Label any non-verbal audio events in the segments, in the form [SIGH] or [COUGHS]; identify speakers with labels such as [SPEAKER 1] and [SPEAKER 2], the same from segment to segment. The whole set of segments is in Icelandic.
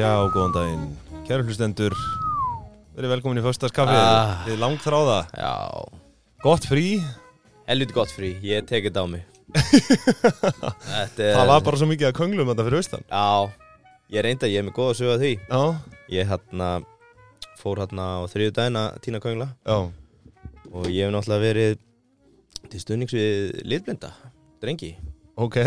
[SPEAKER 1] Já, góðan daginn. Kæra hlustendur, verið velkomin í föstaskaffið.
[SPEAKER 2] Ah.
[SPEAKER 1] Þið langþráða.
[SPEAKER 2] Já,
[SPEAKER 1] Gott frí.
[SPEAKER 2] helviti gott frí, ég tekið þetta á mig
[SPEAKER 1] [LAUGHS]
[SPEAKER 2] Þetta er
[SPEAKER 1] Það var bara svo mikið að könglum þetta fyrir austan.
[SPEAKER 2] Já, ég reynda, ég er með góð að sögja því
[SPEAKER 1] Já,
[SPEAKER 2] Ég hérna, fór hérna á þriðu daginn að tína köngla
[SPEAKER 1] já.
[SPEAKER 2] Og ég hef náttúrulega verið til stuðnings við litblinda, drengi
[SPEAKER 1] Ok.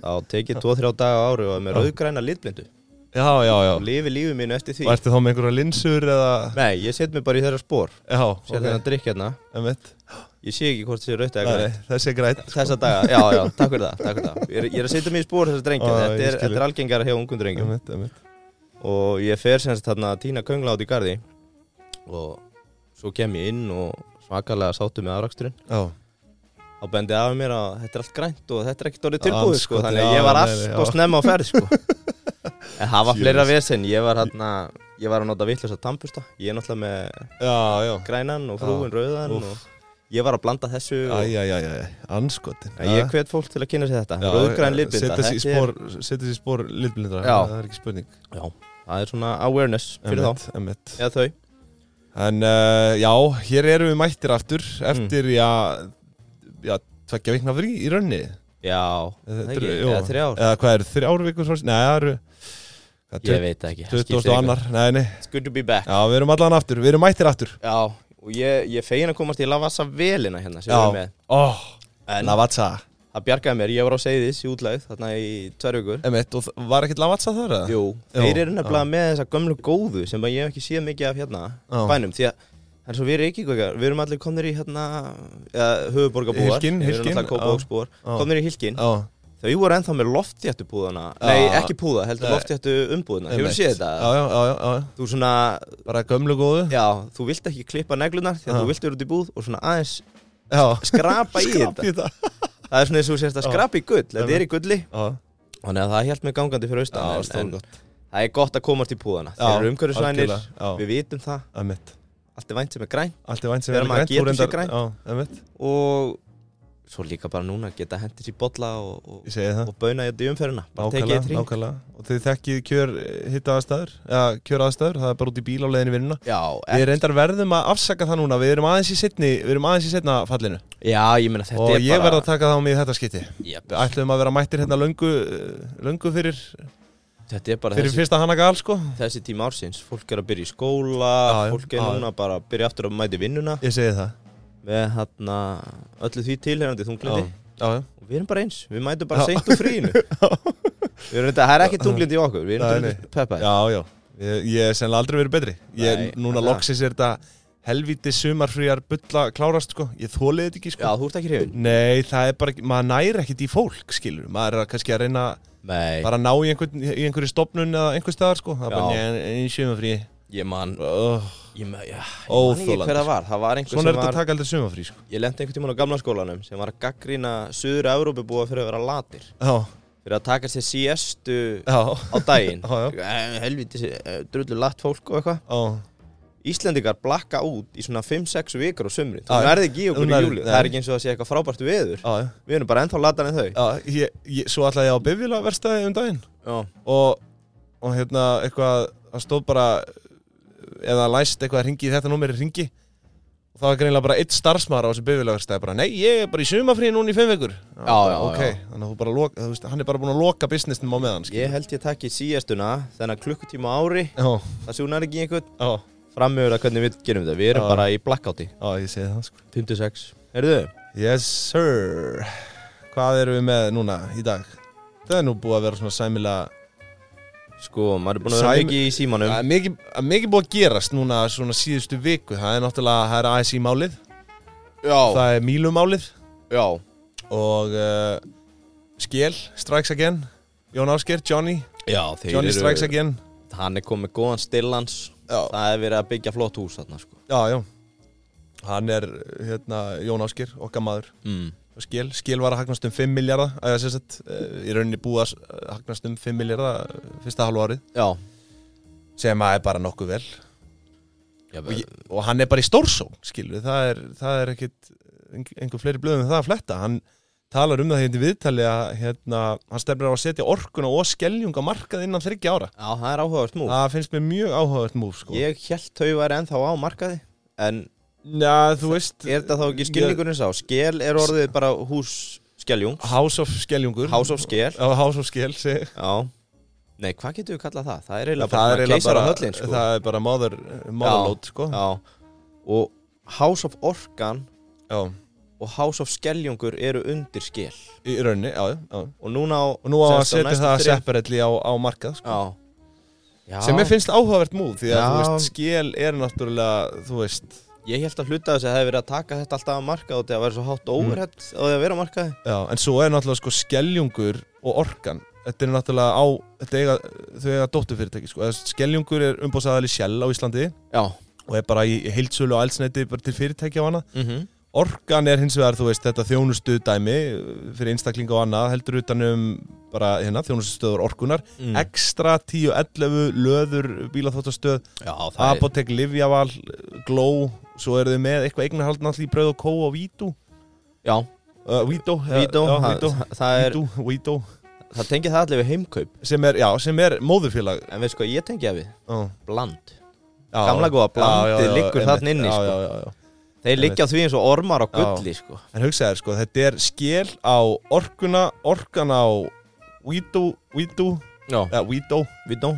[SPEAKER 2] Þá tekið 2-3 daga á ári og er með rauðgræna litblindu
[SPEAKER 1] Já, já, já.
[SPEAKER 2] Og lifi lífið mínu eftir því
[SPEAKER 1] Og ertu þá með einhverja linsur eða...
[SPEAKER 2] Nei, ég set mig bara í þeirra spór
[SPEAKER 1] Já,
[SPEAKER 2] Sér okay. þennan drikk hérna
[SPEAKER 1] Emmett.
[SPEAKER 2] Ég sé ekki hvort það sé rautt eða
[SPEAKER 1] Nei,
[SPEAKER 2] grænt
[SPEAKER 1] þessi er grætt.
[SPEAKER 2] Þessa daga, já, já, takk fyrir það, takk fyrir það. Ég, er, ég er að setja mig í spór þessar drengja,
[SPEAKER 1] Á,
[SPEAKER 2] þetta,
[SPEAKER 1] ég
[SPEAKER 2] er,
[SPEAKER 1] skil.
[SPEAKER 2] þetta er algengara hjá ungum drengjum
[SPEAKER 1] Emmett, emmett.
[SPEAKER 2] Og ég fer semst þarna að týna köngla át í garði Og svo kem ég inn og svakalega sáttu með afraksturinn
[SPEAKER 1] Já.
[SPEAKER 2] Þá bendið af mér að þetta er allt grænt og þetta er ekkert orðið
[SPEAKER 1] Já,
[SPEAKER 2] tilbúið sko
[SPEAKER 1] andskotinn,
[SPEAKER 2] Þannig
[SPEAKER 1] já,
[SPEAKER 2] að ég var
[SPEAKER 1] nei,
[SPEAKER 2] allt
[SPEAKER 1] nei,
[SPEAKER 2] og
[SPEAKER 1] já.
[SPEAKER 2] snemma á ferð sko
[SPEAKER 1] [LAUGHS]
[SPEAKER 2] En það var
[SPEAKER 1] Jöfull.
[SPEAKER 2] fleira vesen, ég var hérna Ég var að nota vittlösa tampusta Ég er náttúrulega með
[SPEAKER 1] Já, já.
[SPEAKER 2] grænan og
[SPEAKER 1] Já.
[SPEAKER 2] frúin rauðan
[SPEAKER 1] Úff.
[SPEAKER 2] og Ég var að blanda þessu og,
[SPEAKER 1] Æ, æ, æ, æ, anskotin.
[SPEAKER 2] En ég hvet fólk til að kynna sér þetta Rauðgræn
[SPEAKER 1] eh,
[SPEAKER 2] litblinda
[SPEAKER 1] Setja sér í
[SPEAKER 2] þetta er-
[SPEAKER 1] spór, setja sér í spór litblindra.
[SPEAKER 2] Já.
[SPEAKER 1] Það er ekki spurning.
[SPEAKER 2] Já, það er svona awareness fyrir þá
[SPEAKER 1] Emmett, emmett.
[SPEAKER 2] Eða þau
[SPEAKER 1] En uh, já, hér erum við mættir aftur eftir,
[SPEAKER 2] Mm.
[SPEAKER 1] já, já, tveggja vikna frí í raunni.
[SPEAKER 2] Já,
[SPEAKER 1] Eða
[SPEAKER 2] það
[SPEAKER 1] þrjú-
[SPEAKER 2] ekki,
[SPEAKER 1] jú.
[SPEAKER 2] eða þrjár
[SPEAKER 1] Eða hvað eru, þrjár vikur svo? Nei, það eru...
[SPEAKER 2] Ég veit það ekki það skiptir
[SPEAKER 1] 20 og annar, nei, nei.
[SPEAKER 2] engu. It's good to be back
[SPEAKER 1] Já, við erum allan aftur, við erum mættir aftur.
[SPEAKER 2] Já, og ég, ég fegin að komast í lavassa velina hérna sem
[SPEAKER 1] Já,
[SPEAKER 2] við erum með
[SPEAKER 1] óh,
[SPEAKER 2] En
[SPEAKER 1] Lavatsa.
[SPEAKER 2] það bjargaði mér, ég var á Seyðis í útlæð þarna í tvær vikur
[SPEAKER 1] Emmett, og þ- var ekkert Lavatsa þar eða?
[SPEAKER 2] Jú,
[SPEAKER 1] Jú,
[SPEAKER 2] þeir eru nefnilega með þessa gömlu góðu sem að ég hef ekki séð mikið af hérna
[SPEAKER 1] Já.
[SPEAKER 2] bænum því að En svo við erum ekki kvökar, við erum allir komnir í hérna, eða höfuborgarbúar
[SPEAKER 1] Hylkin,
[SPEAKER 2] Við erum
[SPEAKER 1] Hylkin,
[SPEAKER 2] alltaf kópavóksbúar,
[SPEAKER 1] Já.
[SPEAKER 2] komnir í hilkin
[SPEAKER 1] Já,
[SPEAKER 2] Þau voru ennþá með loftjættu púðana,
[SPEAKER 1] Já.
[SPEAKER 2] nei ekki púða, heldur
[SPEAKER 1] Nei.
[SPEAKER 2] loftjættu umbúðina Hefur
[SPEAKER 1] einmitt.
[SPEAKER 2] séð þetta?
[SPEAKER 1] Já, já, já, já, já.
[SPEAKER 2] Þú svona,
[SPEAKER 1] Bara gömlu góðu.
[SPEAKER 2] Já, þú vilt ekki klippa neglunar því að
[SPEAKER 1] Já.
[SPEAKER 2] þú vilt vera út í búð og svona aðeins
[SPEAKER 1] Já. [LAUGHS]
[SPEAKER 2] skrapa í þetta
[SPEAKER 1] Í þetta.
[SPEAKER 2] Það er svona eins og þú sérst að
[SPEAKER 1] Já.
[SPEAKER 2] skrapa í gull, þetta er í
[SPEAKER 1] Einmitt.
[SPEAKER 2] gulli
[SPEAKER 1] Já,
[SPEAKER 2] Þannig að það hjælt mig gangandi fyrir austan
[SPEAKER 1] já,
[SPEAKER 2] en-
[SPEAKER 1] stóð
[SPEAKER 2] en
[SPEAKER 1] gott.
[SPEAKER 2] Það er gott að komast í búðana
[SPEAKER 1] Já,
[SPEAKER 2] Þeir eru umhverfisvænir,
[SPEAKER 1] algjörlega, já.
[SPEAKER 2] við vitum það
[SPEAKER 1] Emmett.
[SPEAKER 2] Allt er vænt sem er græn
[SPEAKER 1] Allt er vænt sem
[SPEAKER 2] Þegar
[SPEAKER 1] er
[SPEAKER 2] maður
[SPEAKER 1] grænt.
[SPEAKER 2] getur
[SPEAKER 1] þú
[SPEAKER 2] sér
[SPEAKER 1] reyndar-
[SPEAKER 2] grænt.
[SPEAKER 1] Já, Emmett,
[SPEAKER 2] Og svo líka bara núna geta hendis í bolla og, og,
[SPEAKER 1] ég segi það.
[SPEAKER 2] og bauna þetta í umferðina Bara tekið
[SPEAKER 1] Nákvæmlega,
[SPEAKER 2] eitt hring
[SPEAKER 1] nákvæmlega og þið þekkið kjör hitta aðstæður eða kjör aðstæður, það er bara út í bíl á leiðinni í vinnuna
[SPEAKER 2] Já,
[SPEAKER 1] Við
[SPEAKER 2] en,
[SPEAKER 1] reyndar verðum að afsaka það núna, við erum aðeins í setni við erum aðeins í setna fallinu
[SPEAKER 2] já, ég meina þetta
[SPEAKER 1] og
[SPEAKER 2] er
[SPEAKER 1] ég verð
[SPEAKER 2] bara
[SPEAKER 1] að taka það á mig í þetta skiti
[SPEAKER 2] Jep,
[SPEAKER 1] Við ætlum að vera mættir hérna löngu, löngu fyrir,
[SPEAKER 2] Þetta er bara
[SPEAKER 1] fyrir
[SPEAKER 2] þessi,
[SPEAKER 1] fyrsta hanna gal sko
[SPEAKER 2] þessi tíma ársins Fólk er að byrja í skóla,
[SPEAKER 1] Já, já,
[SPEAKER 2] fólk er
[SPEAKER 1] já, já.
[SPEAKER 2] núna bara að byrja aftur að mæti vinnuna
[SPEAKER 1] Ég segi það
[SPEAKER 2] með hérna öllu því tilherandi þunglindi
[SPEAKER 1] já, já,
[SPEAKER 2] og við erum bara eins, við mætum
[SPEAKER 1] Já.
[SPEAKER 2] bara seint úr fríinu [LAUGHS] við erum þetta, það er ekki þunglindi í okkur við erum
[SPEAKER 1] Nei,
[SPEAKER 2] þetta
[SPEAKER 1] nei.
[SPEAKER 2] peppa
[SPEAKER 1] [LAUGHS] já, já. Ég, ég er sennilega aldrei verið betri ég,
[SPEAKER 2] Nei,
[SPEAKER 1] Núna
[SPEAKER 2] það.
[SPEAKER 1] loksis er þetta helviti sumarfríjar bulla klárast sko Ég þólið þetta ekki
[SPEAKER 2] já,
[SPEAKER 1] sko
[SPEAKER 2] þú ert ekki hrifin
[SPEAKER 1] Nei, það er bara, ekki- maður næri ekkert í fólk skilur Maður er að- kannski að reyna
[SPEAKER 2] nei,
[SPEAKER 1] bara ná í, einhvern, í einhverju stofnun eða einhver staðar sko það er bara
[SPEAKER 2] Já.
[SPEAKER 1] neina í sumafrí
[SPEAKER 2] ég man
[SPEAKER 1] oh,
[SPEAKER 2] ég man, já, ég man ekki
[SPEAKER 1] Óþolandi.
[SPEAKER 2] hver það var það var einhver
[SPEAKER 1] svona er
[SPEAKER 2] sem
[SPEAKER 1] þetta að
[SPEAKER 2] var
[SPEAKER 1] taka aldrei sumafrí sko
[SPEAKER 2] ég lendi einhvern tímann á gamla skólanum sem var að gaggrýna söður Európa búa fyrir að vera latir
[SPEAKER 1] já,
[SPEAKER 2] fyrir að taka sér síestu
[SPEAKER 1] já,
[SPEAKER 2] á [LAUGHS] daginn
[SPEAKER 1] Já,
[SPEAKER 2] Eh, helviti, eh, drullu latt fólk og eitthvað
[SPEAKER 1] já,
[SPEAKER 2] Íslendingar blakka út í svona 5-6 vikur á sumrin
[SPEAKER 1] Já,
[SPEAKER 2] þú
[SPEAKER 1] já.
[SPEAKER 2] nærði ekki í
[SPEAKER 1] Þú
[SPEAKER 2] okkur í
[SPEAKER 1] nærð-
[SPEAKER 2] júli
[SPEAKER 1] nei.
[SPEAKER 2] það er ekki eins og það sé eitthvað frábært veður
[SPEAKER 1] já,
[SPEAKER 2] Við erum bara ennþá latan en þau
[SPEAKER 1] já ég, ég, svo ætlaði ég á bifjölaverstaði um daginn
[SPEAKER 2] Já,
[SPEAKER 1] og, og hérna eitthvað það stóð bara eða læst eitthvað að ringi þetta númer ringi og það var greinlega bara eitt starfsmaður á þessu bifjölaverstaði bara nei, ég er bara í sumafrí núna í fimm vikur já,
[SPEAKER 2] já,
[SPEAKER 1] ok,
[SPEAKER 2] já.
[SPEAKER 1] þannig að þú bara loka, þú veist, hann er bara búin að loka businessnum á meðan skilur.
[SPEAKER 2] Ég held ég takki síðastuna þennan klukkutíma á ári
[SPEAKER 1] já,
[SPEAKER 2] Það súnar ekki í einhvern
[SPEAKER 1] já,
[SPEAKER 2] Framöfur að hvernig við gerum þetta Við erum
[SPEAKER 1] Já.
[SPEAKER 2] bara í blackouti
[SPEAKER 1] já, ég segi það sko
[SPEAKER 2] 56 Heyrðu,
[SPEAKER 1] Yes sir Hvað erum við með núna í dag? Það er nú búið að vera svona sæmilega
[SPEAKER 2] sko, maður er búin að vera
[SPEAKER 1] Sæm-
[SPEAKER 2] mikið í símanum
[SPEAKER 1] Það er mikið, það er mikið búið að gerast núna svona síðustu viku Það er náttúrulega, það er ASI málið
[SPEAKER 2] Já,
[SPEAKER 1] Það er Mílu málið
[SPEAKER 2] já
[SPEAKER 1] Og uh, Skél, Strikes Again Jón Ásker, Johnny
[SPEAKER 2] Já, þeir
[SPEAKER 1] Johnny Strikes
[SPEAKER 2] eru
[SPEAKER 1] Again
[SPEAKER 2] Hann er komið góðan stillans
[SPEAKER 1] Já.
[SPEAKER 2] Það er verið að byggja flott hús þarna sko
[SPEAKER 1] Já, já Hann er, hérna, Jón Ásker, okkar maður
[SPEAKER 2] mm.
[SPEAKER 1] og Skél, Skél var að hagnast um 5 miljardar Það er sem sagt, uh, í rauninni búið að eh, hagnast um 5 miljardar fyrsta halvu árið
[SPEAKER 2] Já,
[SPEAKER 1] sem að er bara nokkuð vel
[SPEAKER 2] Já,
[SPEAKER 1] og, ég, og hann er bara í stórsókn skilur, það er, það er ekkit eng- einhver fleiri blöðum en það að fletta hann talar um það hérna í viðtali að hérna, hann stefnir á að setja orkuna og skeljung á markað innan þryggja ára
[SPEAKER 2] Já, það er áhugavert múf
[SPEAKER 1] það finnst mér mjög áhugavert múf sko.
[SPEAKER 2] Ég held þau væri ennþá á markaði En
[SPEAKER 1] Já, þú veist
[SPEAKER 2] er þetta þá ekki skilningurinn sá? Skel er orðið bara hús skeljung
[SPEAKER 1] House of skeljungur
[SPEAKER 2] House of skel
[SPEAKER 1] Já, House of skel seg-
[SPEAKER 2] Já Nei, hvað getur við kallað það? Það er eiginlega
[SPEAKER 1] það er
[SPEAKER 2] bara
[SPEAKER 1] eiginlega
[SPEAKER 2] keisara
[SPEAKER 1] bara
[SPEAKER 2] höllin sko.
[SPEAKER 1] það er bara mother, mother load sko.
[SPEAKER 2] Já Og House of Orkan
[SPEAKER 1] Já,
[SPEAKER 2] og House of Skeljungur eru undir skel
[SPEAKER 1] í rauninni, já, já
[SPEAKER 2] Og núna á
[SPEAKER 1] og nú á að
[SPEAKER 2] semst
[SPEAKER 1] setja
[SPEAKER 2] næstu
[SPEAKER 1] það
[SPEAKER 2] þrem-
[SPEAKER 1] separately á, á markað sko.
[SPEAKER 2] Já Já,
[SPEAKER 1] sem ég finnst áhugavert múð því að
[SPEAKER 2] Já.
[SPEAKER 1] þú veist, skil er náttúrulega þú veist,
[SPEAKER 2] ég held að hluta þess að það hefði verið að taka þetta alltaf að marka og það væri svo hátt overhead mm. og það að vera á markaði
[SPEAKER 1] já, en svo er náttúrulega sko skeljungur og orkan þetta er náttúrulega á, þetta eiga þau eiga dótturfyrirtæki, sko, Eða skeljungur er umbóðsæðali Shell á Íslandi
[SPEAKER 2] Já
[SPEAKER 1] og er bara í heildsölu og elsneiti bara til fyrirtækja og annað
[SPEAKER 2] mm -hmm.
[SPEAKER 1] Orkan er hins vegar, þú veist, þetta þjónustu dæmi eh, fyrir einstaklinga og annað heldur utan um bara hérna, þjónustustöður orkunar,
[SPEAKER 2] Mm.
[SPEAKER 1] ekstra 10-11 löður bílaþóttastöð
[SPEAKER 2] Já, það er
[SPEAKER 1] Apotek, Livjaval, Glow svo eru þau með eitthvað eignarhald náttúrulega í bröð og kó og Vító
[SPEAKER 2] Já,
[SPEAKER 1] uh, Vító, eh,
[SPEAKER 2] Vító,
[SPEAKER 1] já,
[SPEAKER 2] það-
[SPEAKER 1] Vító,
[SPEAKER 2] það er,
[SPEAKER 1] Vító, Vító
[SPEAKER 2] það tengir það allir við heimkaup
[SPEAKER 1] sem er, já, sem er móðurfélag
[SPEAKER 2] En við sko, ég tengi það við,
[SPEAKER 1] já,
[SPEAKER 2] bland
[SPEAKER 1] já,
[SPEAKER 2] Gamla góða blandið
[SPEAKER 1] já, já, já,
[SPEAKER 2] liggur
[SPEAKER 1] einmitt,
[SPEAKER 2] þarna inni,
[SPEAKER 1] já,
[SPEAKER 2] sko.
[SPEAKER 1] já, já, já.
[SPEAKER 2] Þeir
[SPEAKER 1] Einmitt.
[SPEAKER 2] liggja á því eins og ormar á
[SPEAKER 1] Já.
[SPEAKER 2] gulli, sko
[SPEAKER 1] En hugsaðir, sko, þetta er skil á orkuna, orkan á Vító, Vító,
[SPEAKER 2] Já,
[SPEAKER 1] ja, Vító
[SPEAKER 2] við dó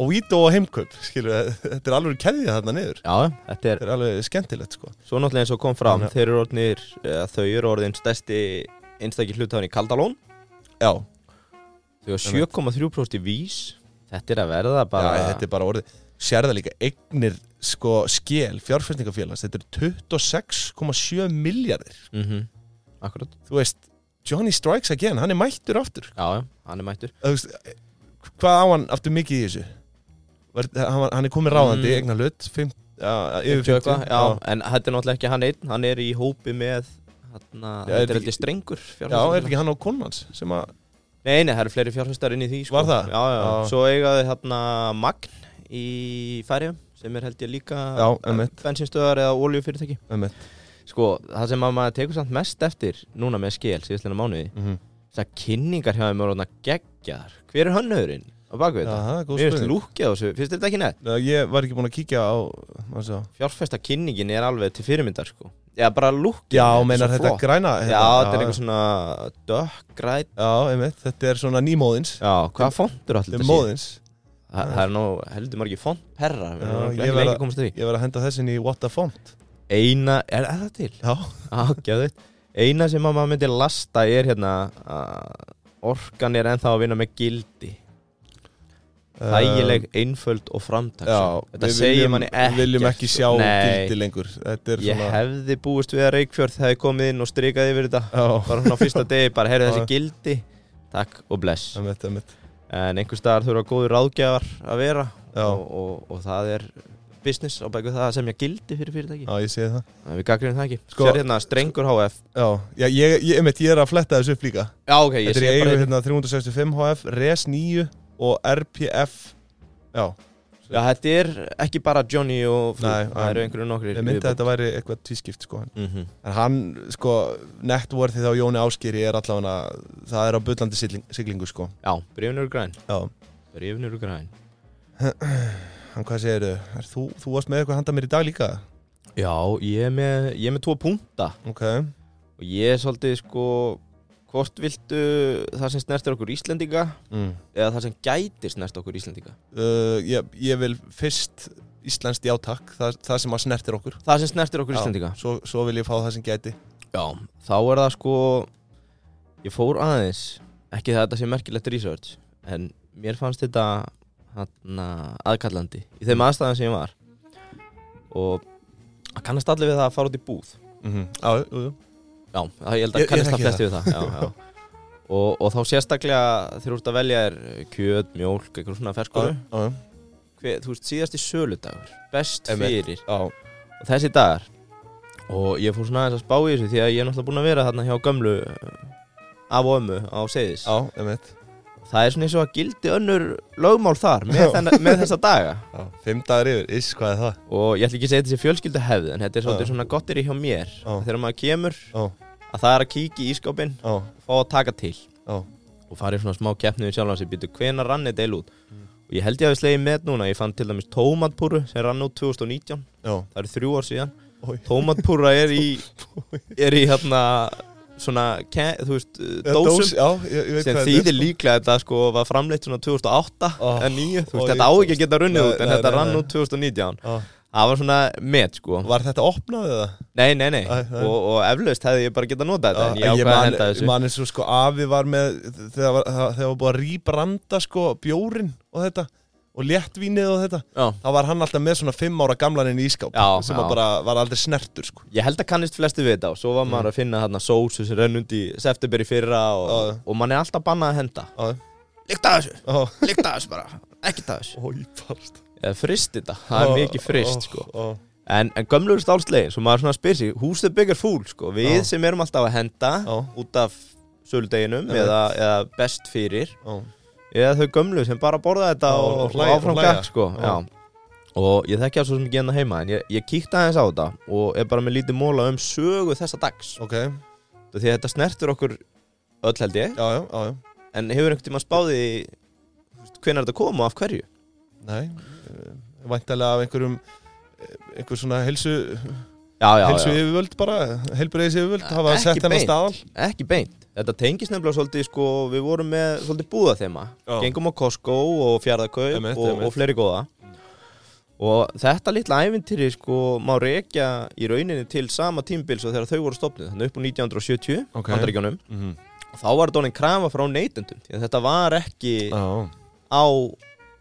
[SPEAKER 1] og Vító og heimkaup skilur, við, þetta er alveg keðja þarna niður
[SPEAKER 2] Já, þetta er,
[SPEAKER 1] þetta er alveg skemmtilegt sko
[SPEAKER 2] svo náttúrulega eins og kom fram
[SPEAKER 1] Þannig-
[SPEAKER 2] Þeir eru orðnir, eða, þau eru orðin stærsti einstakir hlutafan í Kaldalón
[SPEAKER 1] já,
[SPEAKER 2] Þau eru 7,3% í vís Þetta er að verða bara
[SPEAKER 1] já þetta er bara orðið sérða líka eignir sko skil fjárfærsningafélags, þetta er 26,7 miljardir
[SPEAKER 2] Mhm. Akkurat
[SPEAKER 1] þú veist, Johnny Strikes Again hann er mættur aftur
[SPEAKER 2] Já, já, hann er mættur
[SPEAKER 1] Þú veist, hvað á hann aftur mikið í þessu Var, hann, var- hann er komið ráðandi
[SPEAKER 2] Mm.
[SPEAKER 1] mm. eignar hlut fimm, já, yfir 50
[SPEAKER 2] Eitthvað, já, En þetta er náttúrulega ekki hann einn Hann er í hópi með Hanna,
[SPEAKER 1] Já,
[SPEAKER 2] þetta
[SPEAKER 1] er
[SPEAKER 2] er
[SPEAKER 1] ekki-
[SPEAKER 2] heldur strengur
[SPEAKER 1] já, er ekki hann á konans sem að
[SPEAKER 2] Nei, nei, það eru fleiri fjárfæstar inn í því sko.
[SPEAKER 1] Var það?
[SPEAKER 2] Já, já,
[SPEAKER 1] Já.
[SPEAKER 2] svo eigaði hérna Magn í færiðum sem er held ég líka
[SPEAKER 1] Já, einmitt.
[SPEAKER 2] bensinstöðar eða oljufyrirtæki
[SPEAKER 1] einmitt,
[SPEAKER 2] Sko, það sem að maður tekur samt mest eftir núna með skil síðustlega mánuði
[SPEAKER 1] mhm.
[SPEAKER 2] þess að kynningar hjá þeim eru orðna geggjar Hver er hönnurinn á baku
[SPEAKER 1] já,
[SPEAKER 2] þetta?
[SPEAKER 1] það er góð
[SPEAKER 2] Mér finnst
[SPEAKER 1] spurning
[SPEAKER 2] lúkja þessu, finnst þér þetta ekki nett?
[SPEAKER 1] Já, ég var ekki búin að kíkja á hvað sé það?
[SPEAKER 2] Fjárfæsta kynningin er alveg til fyrirmyndar sko Já, bara lúkja
[SPEAKER 1] Já, meinar þetta græna
[SPEAKER 2] Já,
[SPEAKER 1] hérna,
[SPEAKER 2] þetta er eitthvað svona dökkgræt
[SPEAKER 1] Já, einmitt, þetta er svona nýmóðins
[SPEAKER 2] Já, hvaða fontur allir
[SPEAKER 1] Þetta er móðins
[SPEAKER 2] Þa, það er nú heldur margir font perra Við
[SPEAKER 1] Já,
[SPEAKER 2] erum
[SPEAKER 1] ég
[SPEAKER 2] ekki
[SPEAKER 1] verð
[SPEAKER 2] lengi
[SPEAKER 1] að-
[SPEAKER 2] að komast að því
[SPEAKER 1] Ég var að henda þessin í What the Font
[SPEAKER 2] Eina, er, er það til?
[SPEAKER 1] Já,
[SPEAKER 2] Ágæðið Eina sem að maður myndi lasta er hérna að Orkan er ennþá að vinna með gildi Þægileg, einföld og
[SPEAKER 1] Um,
[SPEAKER 2] framtak
[SPEAKER 1] Eh, Já,
[SPEAKER 2] Þetta
[SPEAKER 1] við
[SPEAKER 2] segir
[SPEAKER 1] viljum-
[SPEAKER 2] manni ekkert
[SPEAKER 1] Við viljum ekki sjá
[SPEAKER 2] Nei,
[SPEAKER 1] gildi lengur Þetta er
[SPEAKER 2] Ég
[SPEAKER 1] svona
[SPEAKER 2] hefði búist við að Reykjörð hefði komið inn og strikaði yfir þetta
[SPEAKER 1] Já,
[SPEAKER 2] Bara hún á fyrsta degi, bara heyrðu
[SPEAKER 1] Já.
[SPEAKER 2] þessi gildi Takk og bless
[SPEAKER 1] einmitt, einmitt
[SPEAKER 2] En einhver staðar þurfa góður ráðgjafar að vera
[SPEAKER 1] Já.
[SPEAKER 2] og, og, og það er business á bæku það að semja gildi fyrir fyrirtæki
[SPEAKER 1] Já, ég segi það
[SPEAKER 2] Nei, Við gaggrinum það ekki
[SPEAKER 1] Sko-
[SPEAKER 2] sko, Sér hérna Strengur HF
[SPEAKER 1] Já, já ég, ég, einmitt, ég er að fletta þessu upp líka
[SPEAKER 2] Já ok, ég
[SPEAKER 1] Þetta er
[SPEAKER 2] sé
[SPEAKER 1] í
[SPEAKER 2] bara
[SPEAKER 1] eigu
[SPEAKER 2] hérna.
[SPEAKER 1] hérna 365 HF, Res 9 og RPF Já,
[SPEAKER 2] Já þetta er ekki bara Johnny og Frú
[SPEAKER 1] Nei,
[SPEAKER 2] Það eru
[SPEAKER 1] en-
[SPEAKER 2] einhverju nokkri
[SPEAKER 1] ég myndi að þetta væri eitthvað tvískipt sko
[SPEAKER 2] mm -hmm.
[SPEAKER 1] En hann, sko, networthið á Jóni Áskýri er allavega, það er á bullandi sigling- siglingu, sko.
[SPEAKER 2] Já, brefnur og græn
[SPEAKER 1] Já.
[SPEAKER 2] Brefnur og græn
[SPEAKER 1] Hann, hvað segir þau? Er þú, þú varst með eitthvað handa mér í dag líka?
[SPEAKER 2] Já, ég er með, ég er með tvo punta
[SPEAKER 1] Ok.
[SPEAKER 2] Og ég er svolítið sko Hvort viltu það sem snertir okkur Íslendinga
[SPEAKER 1] Mm.
[SPEAKER 2] Eða það sem gæti snert okkur Íslendinga
[SPEAKER 1] Uh, ég, ég vil fyrst íslenskt játakk, það, það sem að snertir okkur.
[SPEAKER 2] Það sem snertir okkur Íslendinga
[SPEAKER 1] Já, Svo, svo vil ég fá það sem gæti.
[SPEAKER 2] Já, þá er það sko Ég fór aðeins Ekki það að þetta sé merkilegt research En mér fannst þetta hana, aðkallandi Í þeim aðstæðan sem ég var Og að kannast allir við það að fara út í búð
[SPEAKER 1] Mm -hmm. Já, jú, jú.
[SPEAKER 2] Já, það- ég held
[SPEAKER 1] Ég-
[SPEAKER 2] að
[SPEAKER 1] ég
[SPEAKER 2] kannast
[SPEAKER 1] þekki
[SPEAKER 2] það flesti við það já, já. Og, og þá sérstaklega þegar þú ert að velja er kjöt, mjólk, eitthvað svona ferskóru
[SPEAKER 1] Já, já.
[SPEAKER 2] Hver, Þú veist, síðasti söludagur Best
[SPEAKER 1] Einmitt.
[SPEAKER 2] fyrir
[SPEAKER 1] Já,
[SPEAKER 2] og þessi dagar og ég fór svona aðeins að spá í þessu því að ég er náttúrulega búinn að vera þarna hjá gömlu eh, af og ömmu á segðis
[SPEAKER 1] já, emitt.
[SPEAKER 2] það er svona eins og að gildi önnur lögmál þar með, þenna, með þessa daga
[SPEAKER 1] Já, fimm dagar yfir, iss, hvað er það?
[SPEAKER 2] og ég ætla ekki að segja þetta sé fjölskyldu hefð en þetta er svolítið
[SPEAKER 1] Já.
[SPEAKER 2] svona gott er í hjá mér
[SPEAKER 1] Já.
[SPEAKER 2] þegar maður kemur
[SPEAKER 1] Ó,
[SPEAKER 2] að það er að kíkja í ískapin
[SPEAKER 1] ó,
[SPEAKER 2] fá að taka til
[SPEAKER 1] ó,
[SPEAKER 2] og fara í svona smá keppni við sjálfan sig býtu hvena rann þetta eil út
[SPEAKER 1] Mm.
[SPEAKER 2] og ég held ég að við slegið með núna ég fann til dæmis tómatpúru sem rann út 2019
[SPEAKER 1] ó,
[SPEAKER 2] það eru þrjú ár síðan
[SPEAKER 1] ó
[SPEAKER 2] tómatpúra er í er í hérna svona ke, þú veist eh, dósum
[SPEAKER 1] Já, ég, ég veit
[SPEAKER 2] sem
[SPEAKER 1] hvað
[SPEAKER 2] þýðir líklega að þetta sko var framleitt svona 2008
[SPEAKER 1] Ó,
[SPEAKER 2] en 9 þú
[SPEAKER 1] ó,
[SPEAKER 2] veist þetta á
[SPEAKER 1] ég-
[SPEAKER 2] ekki að geta runnið
[SPEAKER 1] Nei,
[SPEAKER 2] út en
[SPEAKER 1] nei,
[SPEAKER 2] þetta
[SPEAKER 1] nei,
[SPEAKER 2] rann
[SPEAKER 1] nei.
[SPEAKER 2] út 2019
[SPEAKER 1] Ó,
[SPEAKER 2] það var svona met sko
[SPEAKER 1] Var þetta opnað eða?
[SPEAKER 2] nei nei nei
[SPEAKER 1] Æ, nei.
[SPEAKER 2] og, og eflaust hefði ég bara getað notað þetta en
[SPEAKER 1] Já,
[SPEAKER 2] ég ákvað að henda
[SPEAKER 1] Ah, Ég
[SPEAKER 2] þessu
[SPEAKER 1] man eins og sko afi var með þegar var, það- þegar var búið að rýbranda sko bjórin og þetta og léttvínið og þetta
[SPEAKER 2] Já.
[SPEAKER 1] þá var hann alltaf með svona fimm ára gamlaninn í ískáp
[SPEAKER 2] Já,
[SPEAKER 1] sem
[SPEAKER 2] já.
[SPEAKER 1] já. bara var aldrei snertur sko
[SPEAKER 2] Ég held að kannist flesti við þetta og svo var
[SPEAKER 1] Mm.
[SPEAKER 2] maður að finna þarna sósu sem renn undi september í fyrra og,
[SPEAKER 1] Já, já.
[SPEAKER 2] og mann er alltaf bannað að henda
[SPEAKER 1] Já,
[SPEAKER 2] Líkta þessu,
[SPEAKER 1] já [LAUGHS]
[SPEAKER 2] líkta þessu bara, ekki það þessu
[SPEAKER 1] Ói, barst
[SPEAKER 2] Eða frist þetta, það er mikið frist sko
[SPEAKER 1] ó,
[SPEAKER 2] En, en gömlur stálslegin, svo maður svona spyr sig, who's the bigger fool sko Við
[SPEAKER 1] Já.
[SPEAKER 2] sem erum alltaf að henda
[SPEAKER 1] Já.
[SPEAKER 2] út af söldeginum
[SPEAKER 1] Já.
[SPEAKER 2] eða, eða best fyrir
[SPEAKER 1] ó, ó.
[SPEAKER 2] Eða þau gömlu sem bara borða þetta
[SPEAKER 1] Já,
[SPEAKER 2] og,
[SPEAKER 1] og
[SPEAKER 2] og,
[SPEAKER 1] hlæja- og
[SPEAKER 2] áfram
[SPEAKER 1] hlæja.
[SPEAKER 2] gakk sko
[SPEAKER 1] Já.
[SPEAKER 2] Já. Og ég þekki að svo sem ekki hérna heima En ég, ég kíkti aðeins á þetta og er bara með lítið móla um sögu þessa dags
[SPEAKER 1] Ok, já,
[SPEAKER 2] Út af Því að þetta snertur okkur öll held ég
[SPEAKER 1] já, já, já
[SPEAKER 2] En hefur einhvern tímann spáði Hvenær þetta kom og af hverju
[SPEAKER 1] Nei, væntalega af einhverjum eh, einhver svona helsu,
[SPEAKER 2] Já, já,
[SPEAKER 1] helsu
[SPEAKER 2] já,
[SPEAKER 1] yfirvöld bara helbriðis yfirvöld hafa
[SPEAKER 2] Ekki
[SPEAKER 1] sett hennar
[SPEAKER 2] beint.
[SPEAKER 1] staðal
[SPEAKER 2] ekki beint Þetta tengist nefnilega svolítið sko Við vorum með svolítið búða þeima
[SPEAKER 1] Já.
[SPEAKER 2] Gengum á Costco og Fjárðakaup
[SPEAKER 1] Einmitt,
[SPEAKER 2] og,
[SPEAKER 1] einmitt.
[SPEAKER 2] og fleiri góða Og þetta litla ævintýri sko má rekja í rauninni til sama tímbils og þegar þau voru stopnið, þannig upp á 1970
[SPEAKER 1] Ok.
[SPEAKER 2] Bandaríkjunum.
[SPEAKER 1] mm -hmm.
[SPEAKER 2] þá var þetta orðin krafa frá neytendum því að þetta var ekki
[SPEAKER 1] Já,
[SPEAKER 2] á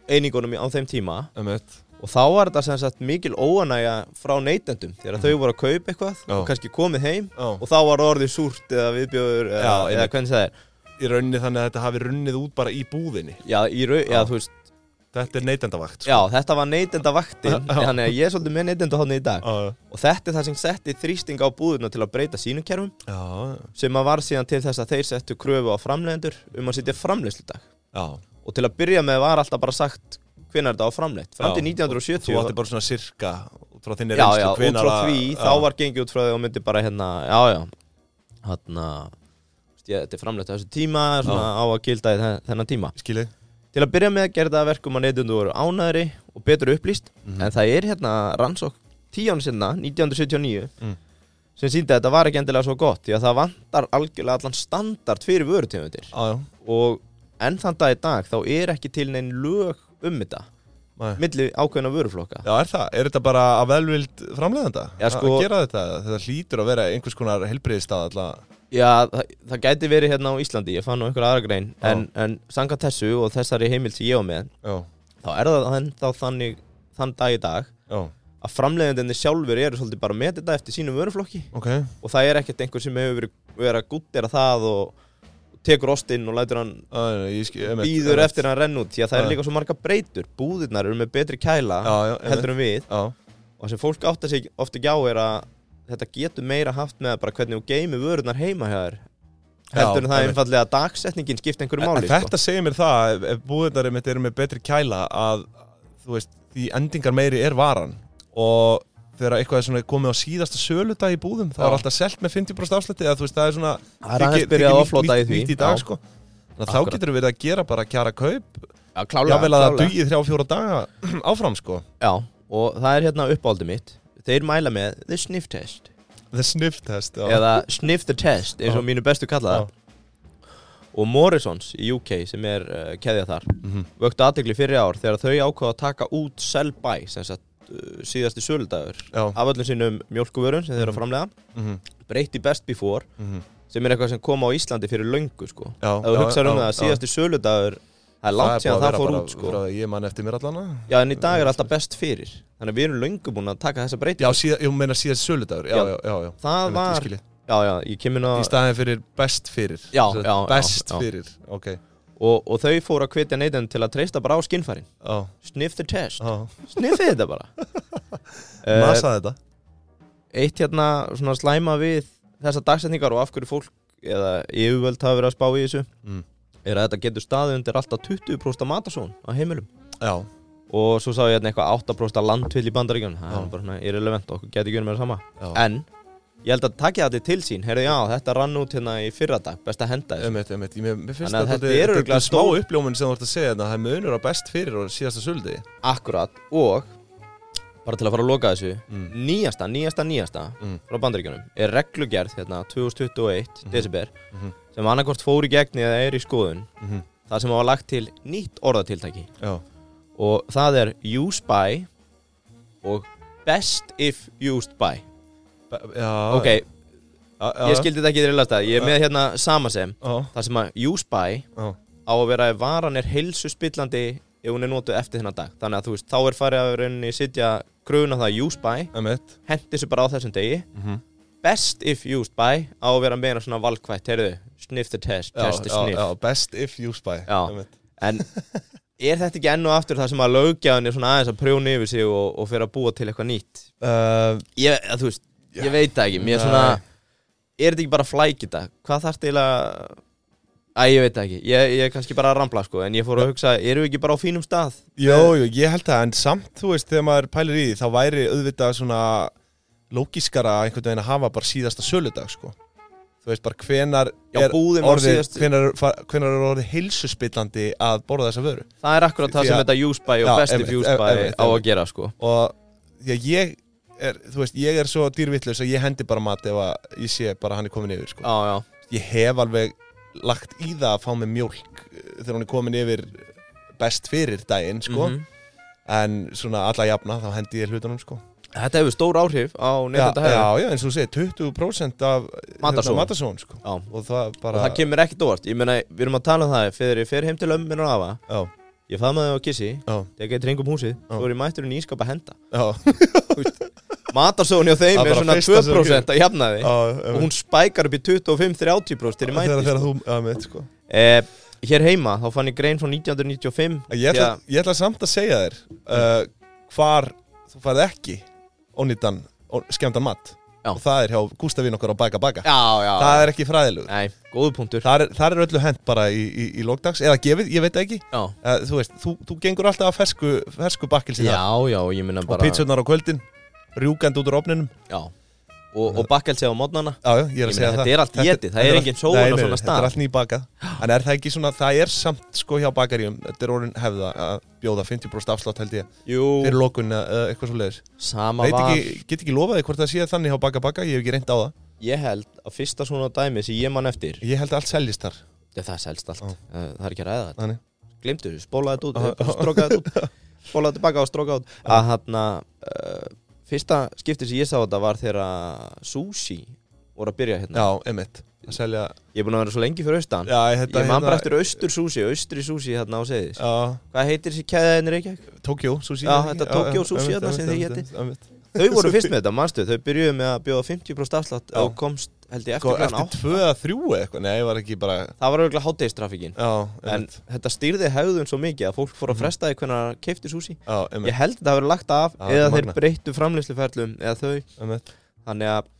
[SPEAKER 2] einingunum í- á þeim tíma
[SPEAKER 1] emmett
[SPEAKER 2] og þá var þetta sem sagt mikil óanægja frá neytendum þegar þau voru að kaupa eitthvað
[SPEAKER 1] Mhm. Já.
[SPEAKER 2] og kannski komið heim
[SPEAKER 1] Já.
[SPEAKER 2] og þá var það orðið súrt eða viðbjöður eða,
[SPEAKER 1] Já,
[SPEAKER 2] eða
[SPEAKER 1] einmitt.
[SPEAKER 2] hvernig það er
[SPEAKER 1] Í rauninni þannig að þetta hafi runnið út bara í búðinni
[SPEAKER 2] já, í rau, já.
[SPEAKER 1] Já.
[SPEAKER 2] þú veist,
[SPEAKER 1] Þetta er neytendavakt sko.
[SPEAKER 2] já, þetta var neytendavaktin
[SPEAKER 1] [LAUGHS] Já.
[SPEAKER 2] þannig að ég er svolítið með neytendahotni í dag
[SPEAKER 1] Já,
[SPEAKER 2] og þetta er það sem setti þrýsting á búðuna til að breyta sínum kerfum
[SPEAKER 1] já,
[SPEAKER 2] sem að var síðan til þess að þeir settu kröfu á framleiðendur um að setja framleiðsludag
[SPEAKER 1] já.
[SPEAKER 2] og til að byrja með var alltaf bara sagt hvenær þetta á framleitt fram til
[SPEAKER 1] Já. Þú
[SPEAKER 2] 1970
[SPEAKER 1] átti bara svona sirka út frá þinni
[SPEAKER 2] já,
[SPEAKER 1] reynslu
[SPEAKER 2] já, út
[SPEAKER 1] hvenær
[SPEAKER 2] frá
[SPEAKER 1] að-
[SPEAKER 2] því,
[SPEAKER 1] já.
[SPEAKER 2] þá var gengið út frá því og myndi bara hérna, já, já hérna, ég, þetta er framleitt á þessu tíma, svona á að gilda í þe- þennan tíma.
[SPEAKER 1] Skilið
[SPEAKER 2] Til að byrja með að gera það að verkum að neytundu voru ánæðri og betur upplýst, en það er hérna rannsók tíjan sinna, 1979
[SPEAKER 1] Mm.
[SPEAKER 2] sem síndi að þetta var ekki endilega svo gott því að það vantar algjörlega allan standard fyrir vörutegundir
[SPEAKER 1] Já, já,
[SPEAKER 2] og enn þann dag í dag þá er ekki til neinn lög um þetta
[SPEAKER 1] Nei.
[SPEAKER 2] milli ákveðna vöruflokka
[SPEAKER 1] já, er það? Er þetta bara að velvild framleiðanda?
[SPEAKER 2] Já, sko-
[SPEAKER 1] Að gera þetta? Þetta hlýtur að vera einhvers konar helbriðistað alltaf
[SPEAKER 2] Já, það, það gæti verið hérna á Íslandi, ég fann nú einhver aðra grein
[SPEAKER 1] Já.
[SPEAKER 2] en, en sanga þessu og þessari heimild sem ég á með
[SPEAKER 1] Já,
[SPEAKER 2] þá er það enn þá þannig þann dag í dag
[SPEAKER 1] já,
[SPEAKER 2] að framleiðendinni sjálfur eru svolítið bara að meta þetta eftir sínum vöruflokki
[SPEAKER 1] ok
[SPEAKER 2] og það er ekkert einhver sem hefur verið verið að guttera það og, og tekur ostinn og lætur hann
[SPEAKER 1] Já, já, ég skil- einmitt,
[SPEAKER 2] býður
[SPEAKER 1] einmitt.
[SPEAKER 2] eftir að hann renn út því að það
[SPEAKER 1] Já.
[SPEAKER 2] er líka svo marga breytur búðirnar eru með betri kæla
[SPEAKER 1] Já, já, einmitt.
[SPEAKER 2] heldur en við
[SPEAKER 1] Já,
[SPEAKER 2] og það sem fólk átta sig ofta ekki á er að þetta getur meira haft með bara hvernig þú geymir vörunar heima hjá þér heldur en það
[SPEAKER 1] einmitt.
[SPEAKER 2] einfallega að dagsetningin skipta einhverju
[SPEAKER 1] En-
[SPEAKER 2] máli sko.
[SPEAKER 1] en Þetta segir mér það, ef- ef búðunar mitt eru með betri kæla að, þú veist, því endingar meiri er varan og þegar eitthvað er svona komið á síðasta söludag í búðum þá
[SPEAKER 2] Já.
[SPEAKER 1] er alltaf selt með 50% afslætti eða þú veist, það er svona
[SPEAKER 2] Það er aðeins byrjað að offloada í því.
[SPEAKER 1] nýtt í dag,
[SPEAKER 2] Já.
[SPEAKER 1] sko Þannig að þá
[SPEAKER 2] Akkurat.
[SPEAKER 1] getur við verið að gera bara kjara kaup
[SPEAKER 2] já, klálega,
[SPEAKER 1] jável að það dugið þrjá fjóra daga [CLEARS THROAT] áfram, sko
[SPEAKER 2] já, og það er hérna uppáldið mitt þeir mæla með the sniff test
[SPEAKER 1] The sniff test, já
[SPEAKER 2] eða sniff the test eins og mínu bestu kalla
[SPEAKER 1] Já.
[SPEAKER 2] það og Morrisons í UK sem er uh, keðja þar
[SPEAKER 1] Mhm.
[SPEAKER 2] vöktu aðtegli fyrir ár þegar þau ákvaða að taka út sell by sem sagt, uh, síðasti söludagur
[SPEAKER 1] Já,
[SPEAKER 2] af öllum sínum mjölkuvörum sem þeir eru að framlega
[SPEAKER 1] mhm,
[SPEAKER 2] breytti best before
[SPEAKER 1] mhm.
[SPEAKER 2] sem er eitthvað sem kom á Íslandi fyrir löngu sko.
[SPEAKER 1] já
[SPEAKER 2] ef þú
[SPEAKER 1] já,
[SPEAKER 2] hugsaður um
[SPEAKER 1] já,
[SPEAKER 2] það,
[SPEAKER 1] já.
[SPEAKER 2] síðasti söludagur það er langt
[SPEAKER 1] búið
[SPEAKER 2] síðan
[SPEAKER 1] að
[SPEAKER 2] það
[SPEAKER 1] vera
[SPEAKER 2] fór
[SPEAKER 1] bara
[SPEAKER 2] út sko.
[SPEAKER 1] frá- Ég man eftir mér allan að
[SPEAKER 2] já en í dag er alltaf best fyrir þannig að við erum löngu búin að taka þessa breyti
[SPEAKER 1] Já, síða, ég meina síðast söludagur Já,
[SPEAKER 2] Já.
[SPEAKER 1] já, já, já.
[SPEAKER 2] það
[SPEAKER 1] Einmitt, ég
[SPEAKER 2] var,
[SPEAKER 1] skil ég.
[SPEAKER 2] já já ég kemur ná
[SPEAKER 1] Í staðin fyrir best fyrir
[SPEAKER 2] Já,
[SPEAKER 1] Sem sagt,
[SPEAKER 2] já, já,
[SPEAKER 1] Best
[SPEAKER 2] já.
[SPEAKER 1] fyrir, ok
[SPEAKER 2] og, og þau fóru að hvetja neytend til að treysta bara á skinnfærin
[SPEAKER 1] Já,
[SPEAKER 2] sniff the test,
[SPEAKER 1] já
[SPEAKER 2] sniffið þetta
[SPEAKER 1] [LAUGHS]
[SPEAKER 2] bara uh,
[SPEAKER 1] Ah. Masa þetta
[SPEAKER 2] eitt hérna svona slæma við þessar dagsetningar og af hverju fólk eða yfirvöld hafa verið að spá í þessu
[SPEAKER 1] Mm.
[SPEAKER 2] er að þetta getur staðið undir alltaf 20% matasón á heimilum
[SPEAKER 1] já,
[SPEAKER 2] og svo sá ég hérna eitthvað 8% landtvill í bandaríkjunum það
[SPEAKER 1] Já.
[SPEAKER 2] er bara svona irrelevant okkur getur ekki verið með það sama
[SPEAKER 1] já.
[SPEAKER 2] en ég held að takja þetta til sín heyrðu já, þetta rann út hérna í fyrradag best að henda þessu
[SPEAKER 1] Einmitt, einmitt. Ég- Mér, mér finnst
[SPEAKER 2] Þannig að
[SPEAKER 1] að
[SPEAKER 2] þetta
[SPEAKER 1] þetta
[SPEAKER 2] er
[SPEAKER 1] er
[SPEAKER 2] örugglega
[SPEAKER 1] örugglega smá
[SPEAKER 2] stór-
[SPEAKER 1] uppljómin sem þú ert að segja þannig að það er munur á best fyrir og síðasta suldi
[SPEAKER 2] akkurat og bara til að fara að loka þessu
[SPEAKER 1] Mm.
[SPEAKER 2] nýjasta, nýjasta, nýjasta
[SPEAKER 1] Mm.
[SPEAKER 2] frá bandaríkjunum er reglugerð hérna 2021 desiber
[SPEAKER 1] Mhm.
[SPEAKER 2] sem annarkort fór í gegni eða er í skoðun
[SPEAKER 1] mm -hmm.
[SPEAKER 2] það sem hafa lagt til nýtt orðatiltæki
[SPEAKER 1] Já,
[SPEAKER 2] og það er use by og best if used by
[SPEAKER 1] Be- Ah, já Ah.
[SPEAKER 2] ok,
[SPEAKER 1] já, já,
[SPEAKER 2] ég skildi þetta ekki til að ég er með hérna sama sem
[SPEAKER 1] Já,
[SPEAKER 2] það sem að use by
[SPEAKER 1] já,
[SPEAKER 2] á að vera ef varan er heilsu spillandi ef hún er notuð eftir þennan dag þannig að þú veist, þá er farið að rauninni sitja kröfun á það use by,
[SPEAKER 1] einmitt
[SPEAKER 2] hendi þessu bara á þessum degi
[SPEAKER 1] mm -hmm.
[SPEAKER 2] best if used by á að vera meira svona valkvætt, heyrðu, sniff the test
[SPEAKER 1] já,
[SPEAKER 2] test the
[SPEAKER 1] já,
[SPEAKER 2] sniff
[SPEAKER 1] já, best if you spy
[SPEAKER 2] Já.
[SPEAKER 1] Einmitt.
[SPEAKER 2] en er þetta ekki enn og aftur það sem að löggjáðan er svona aðeins að prjóna yfir sig og, og fyrir að búa til eitthvað nýtt
[SPEAKER 1] Uh,
[SPEAKER 2] ég, að, þú veist,
[SPEAKER 1] Já.
[SPEAKER 2] ég veit það ekki, mér er
[SPEAKER 1] Nei.
[SPEAKER 2] svona er þetta ekki bara flækita, hvað þarf til að Æ, ég veit það ekki, ég, ég er kannski bara að rambla sko, en ég fór að hugsa, eru við ekki bara á fínum stað?
[SPEAKER 1] Jó, jú, ég held það, en samt, þú veist, þegar maður pælir í því, þá væri auðvitað svona lógiskara einhvern veginn að hafa bara síðasta söludag, sko. Þú veist, bara hvenar
[SPEAKER 2] Já,
[SPEAKER 1] er
[SPEAKER 2] búðin var
[SPEAKER 1] orðið,
[SPEAKER 2] síðast
[SPEAKER 1] hvenar, fa- hvenar er orðið heilsuspillandi að borða þessa vöru.
[SPEAKER 2] Það er akkurat það
[SPEAKER 1] Því
[SPEAKER 2] sem
[SPEAKER 1] að-
[SPEAKER 2] þetta use by og
[SPEAKER 1] Já,
[SPEAKER 2] best if
[SPEAKER 1] einmitt,
[SPEAKER 2] use by
[SPEAKER 1] einmitt,
[SPEAKER 2] á að
[SPEAKER 1] einmitt.
[SPEAKER 2] gera sko
[SPEAKER 1] Og því að ég er, þú veist, ég er svo dýrvittlaus að ég hendi bara mat ef að ég sé bara hann er komin yfir, sko.
[SPEAKER 2] Já, já,
[SPEAKER 1] Ég hef alveg lagt í það að fá mig mjólk eh, þegar hann er komin yfir best fyrir daginn, sko.
[SPEAKER 2] Mhm.
[SPEAKER 1] En svona alla jafna, þá hendi ég hlutunum, sko.
[SPEAKER 2] Þetta hefur stór áhrif á
[SPEAKER 1] já,
[SPEAKER 2] neytanda hefur
[SPEAKER 1] já, já, eins og þú segir, 20% af
[SPEAKER 2] Matarsóun.
[SPEAKER 1] hérna, matarsóun sko.
[SPEAKER 2] Já,
[SPEAKER 1] og það
[SPEAKER 2] og
[SPEAKER 1] bara
[SPEAKER 2] það kemur ekkert óvart Ég meina, við erum að tala um það Fyrir ég fer heim til ömmin og afa
[SPEAKER 1] já,
[SPEAKER 2] Ég faðmaði á kissi,
[SPEAKER 1] já,
[SPEAKER 2] tekið eitt ringum húsið Svo
[SPEAKER 1] Já.
[SPEAKER 2] er ég mættur í nýskap að henda
[SPEAKER 1] já,
[SPEAKER 2] Matarsóni á þeim
[SPEAKER 1] Það
[SPEAKER 2] er
[SPEAKER 1] bara
[SPEAKER 2] svona
[SPEAKER 1] fyrsta sem
[SPEAKER 2] 2% að jafnaði
[SPEAKER 1] já
[SPEAKER 2] Og hún spækar upp í 25-30% Þegar ég
[SPEAKER 1] þegar,
[SPEAKER 2] mætti
[SPEAKER 1] þegar
[SPEAKER 2] sko.
[SPEAKER 1] þú, já, mitt sko
[SPEAKER 2] Eh, Hér heima, þá fann ég grein frá 1995
[SPEAKER 1] ég ætla,
[SPEAKER 2] því að-
[SPEAKER 1] ég ætla samt að segja þér uh, hvar þú farið ekki ónýtan, ó- skemmtan mat
[SPEAKER 2] Já.
[SPEAKER 1] og það er hjá Gústafín okkar á Baka Baka
[SPEAKER 2] Já, já,
[SPEAKER 1] það er ekki fræðilugur
[SPEAKER 2] Nei, góðu punktur
[SPEAKER 1] þar er, þar er öllu hent bara í, í, í lókdags eða gefið, ég veit það ekki
[SPEAKER 2] Já,
[SPEAKER 1] uh, þú veist, þú, þú gengur alltaf að fersku, fersku bakkilsi
[SPEAKER 2] já,
[SPEAKER 1] þar
[SPEAKER 2] já, ég meina
[SPEAKER 1] og
[SPEAKER 2] bara
[SPEAKER 1] pítsunar á kvöldin rjúkandi út úr ofninum
[SPEAKER 2] Já, og, og bakkelsi á mótnana
[SPEAKER 1] Já, já, ég er
[SPEAKER 2] Ég
[SPEAKER 1] að segja
[SPEAKER 2] meina,
[SPEAKER 1] það
[SPEAKER 2] þetta er allt étið, það er engin sóun á svona stað.
[SPEAKER 1] Þetta er allt nýbakað En er það ekki svona, það er samt sko hjá bakaríum Þetta er orðin hefða að bjóða 50% afslátt held ég
[SPEAKER 2] Jú,
[SPEAKER 1] Fyrir lokun eða eitthvað svo leiðis
[SPEAKER 2] sama
[SPEAKER 1] Veit
[SPEAKER 2] var
[SPEAKER 1] ekki, get ekki lofaði hvort það sé þannig hjá baka baka Ég hef ekki reynd á það
[SPEAKER 2] Ég held að fyrsta svona dæmi sem ég man eftir
[SPEAKER 1] Ég held að allt seljist þar
[SPEAKER 2] Þetta það selst allt,
[SPEAKER 1] Já.
[SPEAKER 2] Eh, það er ekki að ræða þetta
[SPEAKER 1] Þannig
[SPEAKER 2] Glemdu þessu, spólaði þetta út, eh, bara strókaði
[SPEAKER 1] [LAUGHS]
[SPEAKER 2] þetta út Spólaði tilbaka og strókaði út Að hann að Fyrsta skipti sem ég sá þetta var þegar að Sushi voru að byrja hérna
[SPEAKER 1] Já, emitt Að selja
[SPEAKER 2] Ég er búin að vera svo lengi fyrir austan
[SPEAKER 1] Já, þetta hérna-
[SPEAKER 2] Ég man bara eftir austur sushi, austri sushi hérna á segðis
[SPEAKER 1] Já,
[SPEAKER 2] Hvað heitir þessi kæðaðin Reykjavík?
[SPEAKER 1] Tokjó, sushi
[SPEAKER 2] Já, þetta Tokyo sushi þarna sem þið
[SPEAKER 1] geti
[SPEAKER 2] Þau voru fyrst með þetta, manstu, þau byrjuðu með að bjóða 50% afslátt
[SPEAKER 1] Já. Sko,
[SPEAKER 2] og komst held ég eftir klukkan
[SPEAKER 1] Eftir
[SPEAKER 2] átta.
[SPEAKER 1] tvö að þrjú eitthvað Nei, var ekki bara
[SPEAKER 2] Það var auðvitað hátegistrafíkin
[SPEAKER 1] Já,
[SPEAKER 2] En
[SPEAKER 1] einmitt.
[SPEAKER 2] þetta stýrði hegðun svo mikið að fólk fór að
[SPEAKER 1] Mhm.
[SPEAKER 2] fresta því hvernig það keifti súsi
[SPEAKER 1] Já,
[SPEAKER 2] Ég
[SPEAKER 1] einmitt,
[SPEAKER 2] held að það verið lagt af
[SPEAKER 1] Já,
[SPEAKER 2] eða
[SPEAKER 1] þetta er
[SPEAKER 2] þeir
[SPEAKER 1] magnað.
[SPEAKER 2] breyttu framleysluferlum eða þau
[SPEAKER 1] einmitt
[SPEAKER 2] Þannig að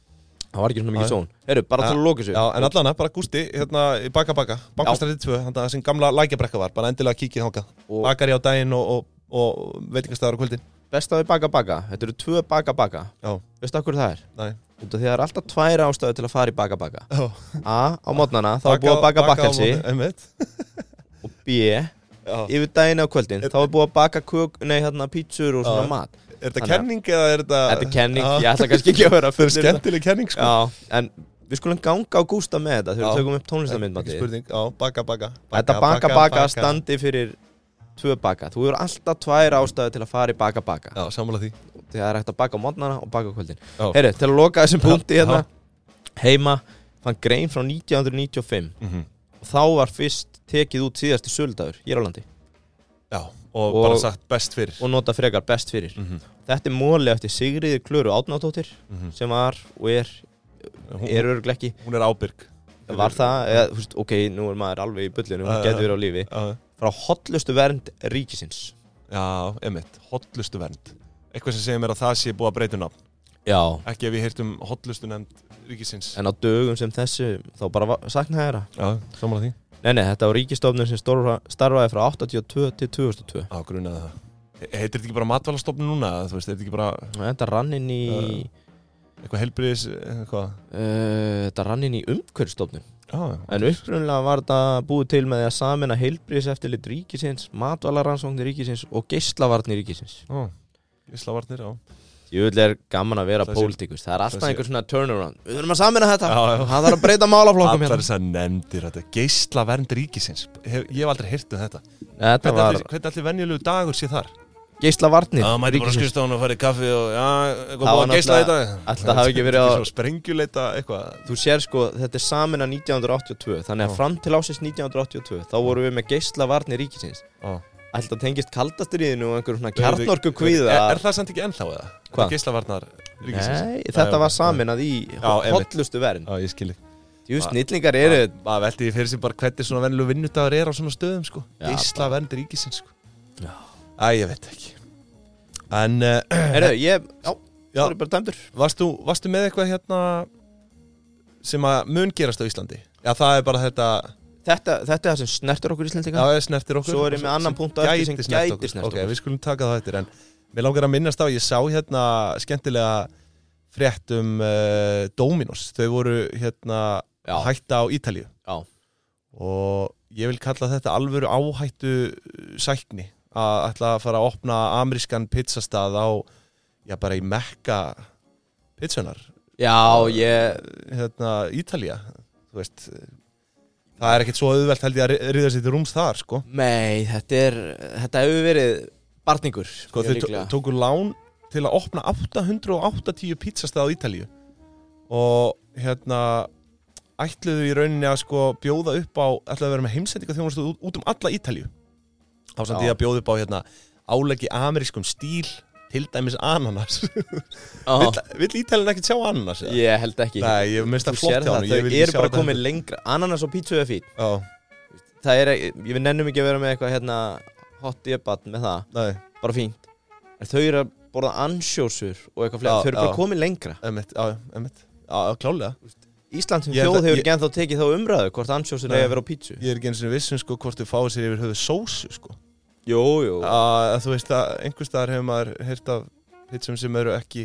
[SPEAKER 2] það var ekki svona mikið
[SPEAKER 1] Já, já.
[SPEAKER 2] són Herru, bara
[SPEAKER 1] Já,
[SPEAKER 2] til að loka þessu
[SPEAKER 1] Já, en allan bara Gústi, hérna í Baka Baka Bankastræti 2, þannig að sem gamla lækjabrekka var bara endilega kíkið þangað,
[SPEAKER 2] Og-
[SPEAKER 1] bakari á daginn og, og, og veitingastæðar á kvöldin
[SPEAKER 2] Best að við baka baka, þetta eru tvö baka baka
[SPEAKER 1] Já,
[SPEAKER 2] Veistu okkur það er?
[SPEAKER 1] næ
[SPEAKER 2] Út af því að það er alltaf tvær ástöðu til að fara í baka baka
[SPEAKER 1] Já,
[SPEAKER 2] A.
[SPEAKER 1] Ah.
[SPEAKER 2] Á mótnana, þá er búið að baka bakkelsi
[SPEAKER 1] Einmitt
[SPEAKER 2] Og B.
[SPEAKER 1] Já.
[SPEAKER 2] Yfir daginn á kvöldin,
[SPEAKER 1] Er-
[SPEAKER 2] þá er búið að baka kök, nei, hérna, pítsur og svona
[SPEAKER 1] Já.
[SPEAKER 2] mat
[SPEAKER 1] Er þetta
[SPEAKER 2] Þannig að-
[SPEAKER 1] kenning eða er þetta
[SPEAKER 2] Þetta er kenning,
[SPEAKER 1] Já.
[SPEAKER 2] ég ætla kannski ekki að vera
[SPEAKER 1] Þetta er
[SPEAKER 2] fullyrða.
[SPEAKER 1] skemmtileg kenning sko
[SPEAKER 2] Já, en við skulum ganga á Gústa með þetta þegar
[SPEAKER 1] Já.
[SPEAKER 2] við tökum upp
[SPEAKER 1] Ekki
[SPEAKER 2] tónlistamindbandið
[SPEAKER 1] spurning, já, Baka Baka
[SPEAKER 2] Þetta baka baka standi fyrir tvö baka Þú eru alltaf tvær ástæðu til að fara í baka baka
[SPEAKER 1] Já, sammála því
[SPEAKER 2] Því það er hægt að baka á mótnana og baka á kvöldin
[SPEAKER 1] Já.
[SPEAKER 2] Heyri, til að loka þessum punkti
[SPEAKER 1] Já.
[SPEAKER 2] hérna Heima fann grein frá 1995
[SPEAKER 1] Mhm.
[SPEAKER 2] og þá var fyrst tekið út síðasti söldagur hér á landi
[SPEAKER 1] Já, og,
[SPEAKER 2] Og-
[SPEAKER 1] bara sagt best fyrir
[SPEAKER 2] og nota frekar best fyrir
[SPEAKER 1] Mhm.
[SPEAKER 2] Þetta er móli eftir Sigriði Klöru Átnátóttir
[SPEAKER 1] Mhm.
[SPEAKER 2] sem var og er,
[SPEAKER 1] hún,
[SPEAKER 2] er örguleg ekki
[SPEAKER 1] hún er ábyrg
[SPEAKER 2] Var það, eða, þú veist, ok, nú er maður alveg í bullinu,
[SPEAKER 1] Já,
[SPEAKER 2] hún getur
[SPEAKER 1] já.
[SPEAKER 2] verið á lífi
[SPEAKER 1] Já,
[SPEAKER 2] Frá hotlustu vernd ríkisins
[SPEAKER 1] Já, einmitt, hotlustu vernd Eitthvað sem segir mér að það sé búið að breyta um nafn
[SPEAKER 2] Já
[SPEAKER 1] Ekki ef ég heyrt um hotlustu nefnd ríkisins
[SPEAKER 2] En á dögum sem þessu, þá bara va- saknaði þeirra
[SPEAKER 1] Já, samanlega því
[SPEAKER 2] Nei, nei, þetta var ríkistofnun sem storfa- starfaði frá 82 til 2002
[SPEAKER 1] Á, grunaði það. He- Heitir þetta ekki bara matvælastofnun núna? eða Þú veist, heitir þetta ekki bara
[SPEAKER 2] Þetta rann inn í
[SPEAKER 1] Já. eitthvað helbriðis, eitthvað?
[SPEAKER 2] uh, Þetta rann inn í umhverfstofnun
[SPEAKER 1] Já, já.
[SPEAKER 2] En upprunlega var þetta búið til með því að samina heilbriðis eftirlit ríkisins Matvælaransóknir ríkisins og geislavarnir ríkisins
[SPEAKER 1] Ó, Gíslavarnir, já.
[SPEAKER 2] Ég vil er gaman að vera
[SPEAKER 1] Það sé-
[SPEAKER 2] pólitíkus Það er alltaf
[SPEAKER 1] það sé-
[SPEAKER 2] einhver svona turnaround Við þurfum að samina þetta
[SPEAKER 1] Já, já.
[SPEAKER 2] Það þarf að breyta málaflokkum
[SPEAKER 1] Allar
[SPEAKER 2] hérna
[SPEAKER 1] þessar nefndir, þetta geislavernd ríkisins. Hef, ég hef aldrei hirt um þetta.
[SPEAKER 2] Þetta
[SPEAKER 1] Hvernig,
[SPEAKER 2] var
[SPEAKER 1] allir, hvernig allir venjulegu dagur sé þar?
[SPEAKER 2] geislavarnir ríkisins
[SPEAKER 1] skrifstofan og farið kaffi og já, eitthvað
[SPEAKER 2] Það var náttúrulega-
[SPEAKER 1] dag.
[SPEAKER 2] ætli það hafi ekki verið á-
[SPEAKER 1] Svo sprengjuleita eitthvað.
[SPEAKER 2] Þú sér sko, þetta er samina 1982 Þannig að
[SPEAKER 1] Já.
[SPEAKER 2] fram til ásins 1982 Þá vorum við með geislavarnir ríkisins
[SPEAKER 1] Ó.
[SPEAKER 2] Ætla að tengist kaldastriðinu og einhver svona kjarnorku kvíða
[SPEAKER 1] Er, er það samt ekki ennþá eða?
[SPEAKER 2] Hvað?
[SPEAKER 1] Geislavarnar ríkisins.
[SPEAKER 2] Nei,
[SPEAKER 1] Já,
[SPEAKER 2] þetta
[SPEAKER 1] já,
[SPEAKER 2] var saminað í
[SPEAKER 1] einmitt.
[SPEAKER 2] hotlustu verðin
[SPEAKER 1] Já, ég skilji.
[SPEAKER 2] Jú, snillingar eru
[SPEAKER 1] Maður veldi því fyrir sér bara hvernig svona venjulegu vinnudagur er á svona stöðum, sko.
[SPEAKER 2] Já,
[SPEAKER 1] Geislavernd ríkisins, sko.
[SPEAKER 2] Já.
[SPEAKER 1] Æ, ég veit ekki. En, uh,
[SPEAKER 2] Herru, ég, já,
[SPEAKER 1] Já.
[SPEAKER 2] það er bara dæmdur
[SPEAKER 1] varst þú, varstu með eitthvað hérna sem að mun gerast á Íslandi? Já, það er bara þetta,
[SPEAKER 2] þetta, þetta er það sem snertur okkur íslendinga
[SPEAKER 1] já, snertir okkur.
[SPEAKER 2] Svo er ég með annan punkt á eftir sem gæti snert
[SPEAKER 1] Ok,
[SPEAKER 2] okkur.
[SPEAKER 1] við skulum taka það eftir, en mér langar að minnast á, ég sá hérna skemmtilega frétt um uh, Dominos. Þau voru hérna
[SPEAKER 2] Já.
[SPEAKER 1] hætta á Ítalíu.
[SPEAKER 2] Já.
[SPEAKER 1] Og ég vil kalla þetta alvöru áhættu uh, sækni að ætla að fara að opna amerískan pizzastað á, já, bara í mekka pizzunar.
[SPEAKER 2] Já, ég,
[SPEAKER 1] hérna, Ítalía þú veist uh, það er ekkert svo auðvelt held ég að ri- ríða sér til rúms þar sko,
[SPEAKER 2] mei, þetta er, þetta hefur verið barningur
[SPEAKER 1] sko þau tó- tóku lán til að opna 880 pizzastað á Ítalíu og hérna ætluðu í rauninni að sko bjóða upp á ætluðu að vera með heimsendinga þjónustu út, út um alla Ítalíu á samt
[SPEAKER 2] Já.
[SPEAKER 1] ég að bjóða upp á hérna álegi amerískum stíl til dæmis ananas
[SPEAKER 2] Ó,
[SPEAKER 1] [LAUGHS] vill, vill Ítalinn ekkert sjá ananas eða?
[SPEAKER 2] Ég held ekki
[SPEAKER 1] Nei, ég minnst
[SPEAKER 2] Þú
[SPEAKER 1] að
[SPEAKER 2] sér
[SPEAKER 1] flott hjá
[SPEAKER 2] það,
[SPEAKER 1] hann
[SPEAKER 2] þau eru bara komin lengra Ananas og pítsu er fín
[SPEAKER 1] Já,
[SPEAKER 2] Það er, ekki- ég við nennum ekki að vera með eitthvað hérna Hot dip-at með það,
[SPEAKER 1] nei,
[SPEAKER 2] bara fínt En þau eru að borða ansjósur og eitthvað fleira
[SPEAKER 1] Já,
[SPEAKER 2] Þau eru bara
[SPEAKER 1] já.
[SPEAKER 2] komin lengra
[SPEAKER 1] emmitt, já, emmitt Já, klálega
[SPEAKER 2] Ísland sem
[SPEAKER 1] Ég held
[SPEAKER 2] þjóð
[SPEAKER 1] að-
[SPEAKER 2] hefur
[SPEAKER 1] ég-
[SPEAKER 2] ekki ennþá tekið þá umræðu Hvort ansjósur
[SPEAKER 1] Nei.
[SPEAKER 2] hefur verið á pítsu
[SPEAKER 1] Ég er ekki eins og vissum sko hvort þau fáið sér yfir höfuð sósu sko
[SPEAKER 2] Jú, jú
[SPEAKER 1] að, að þú veist að einhvers staðar hefur maður heyrt af hitsum sem eru ekki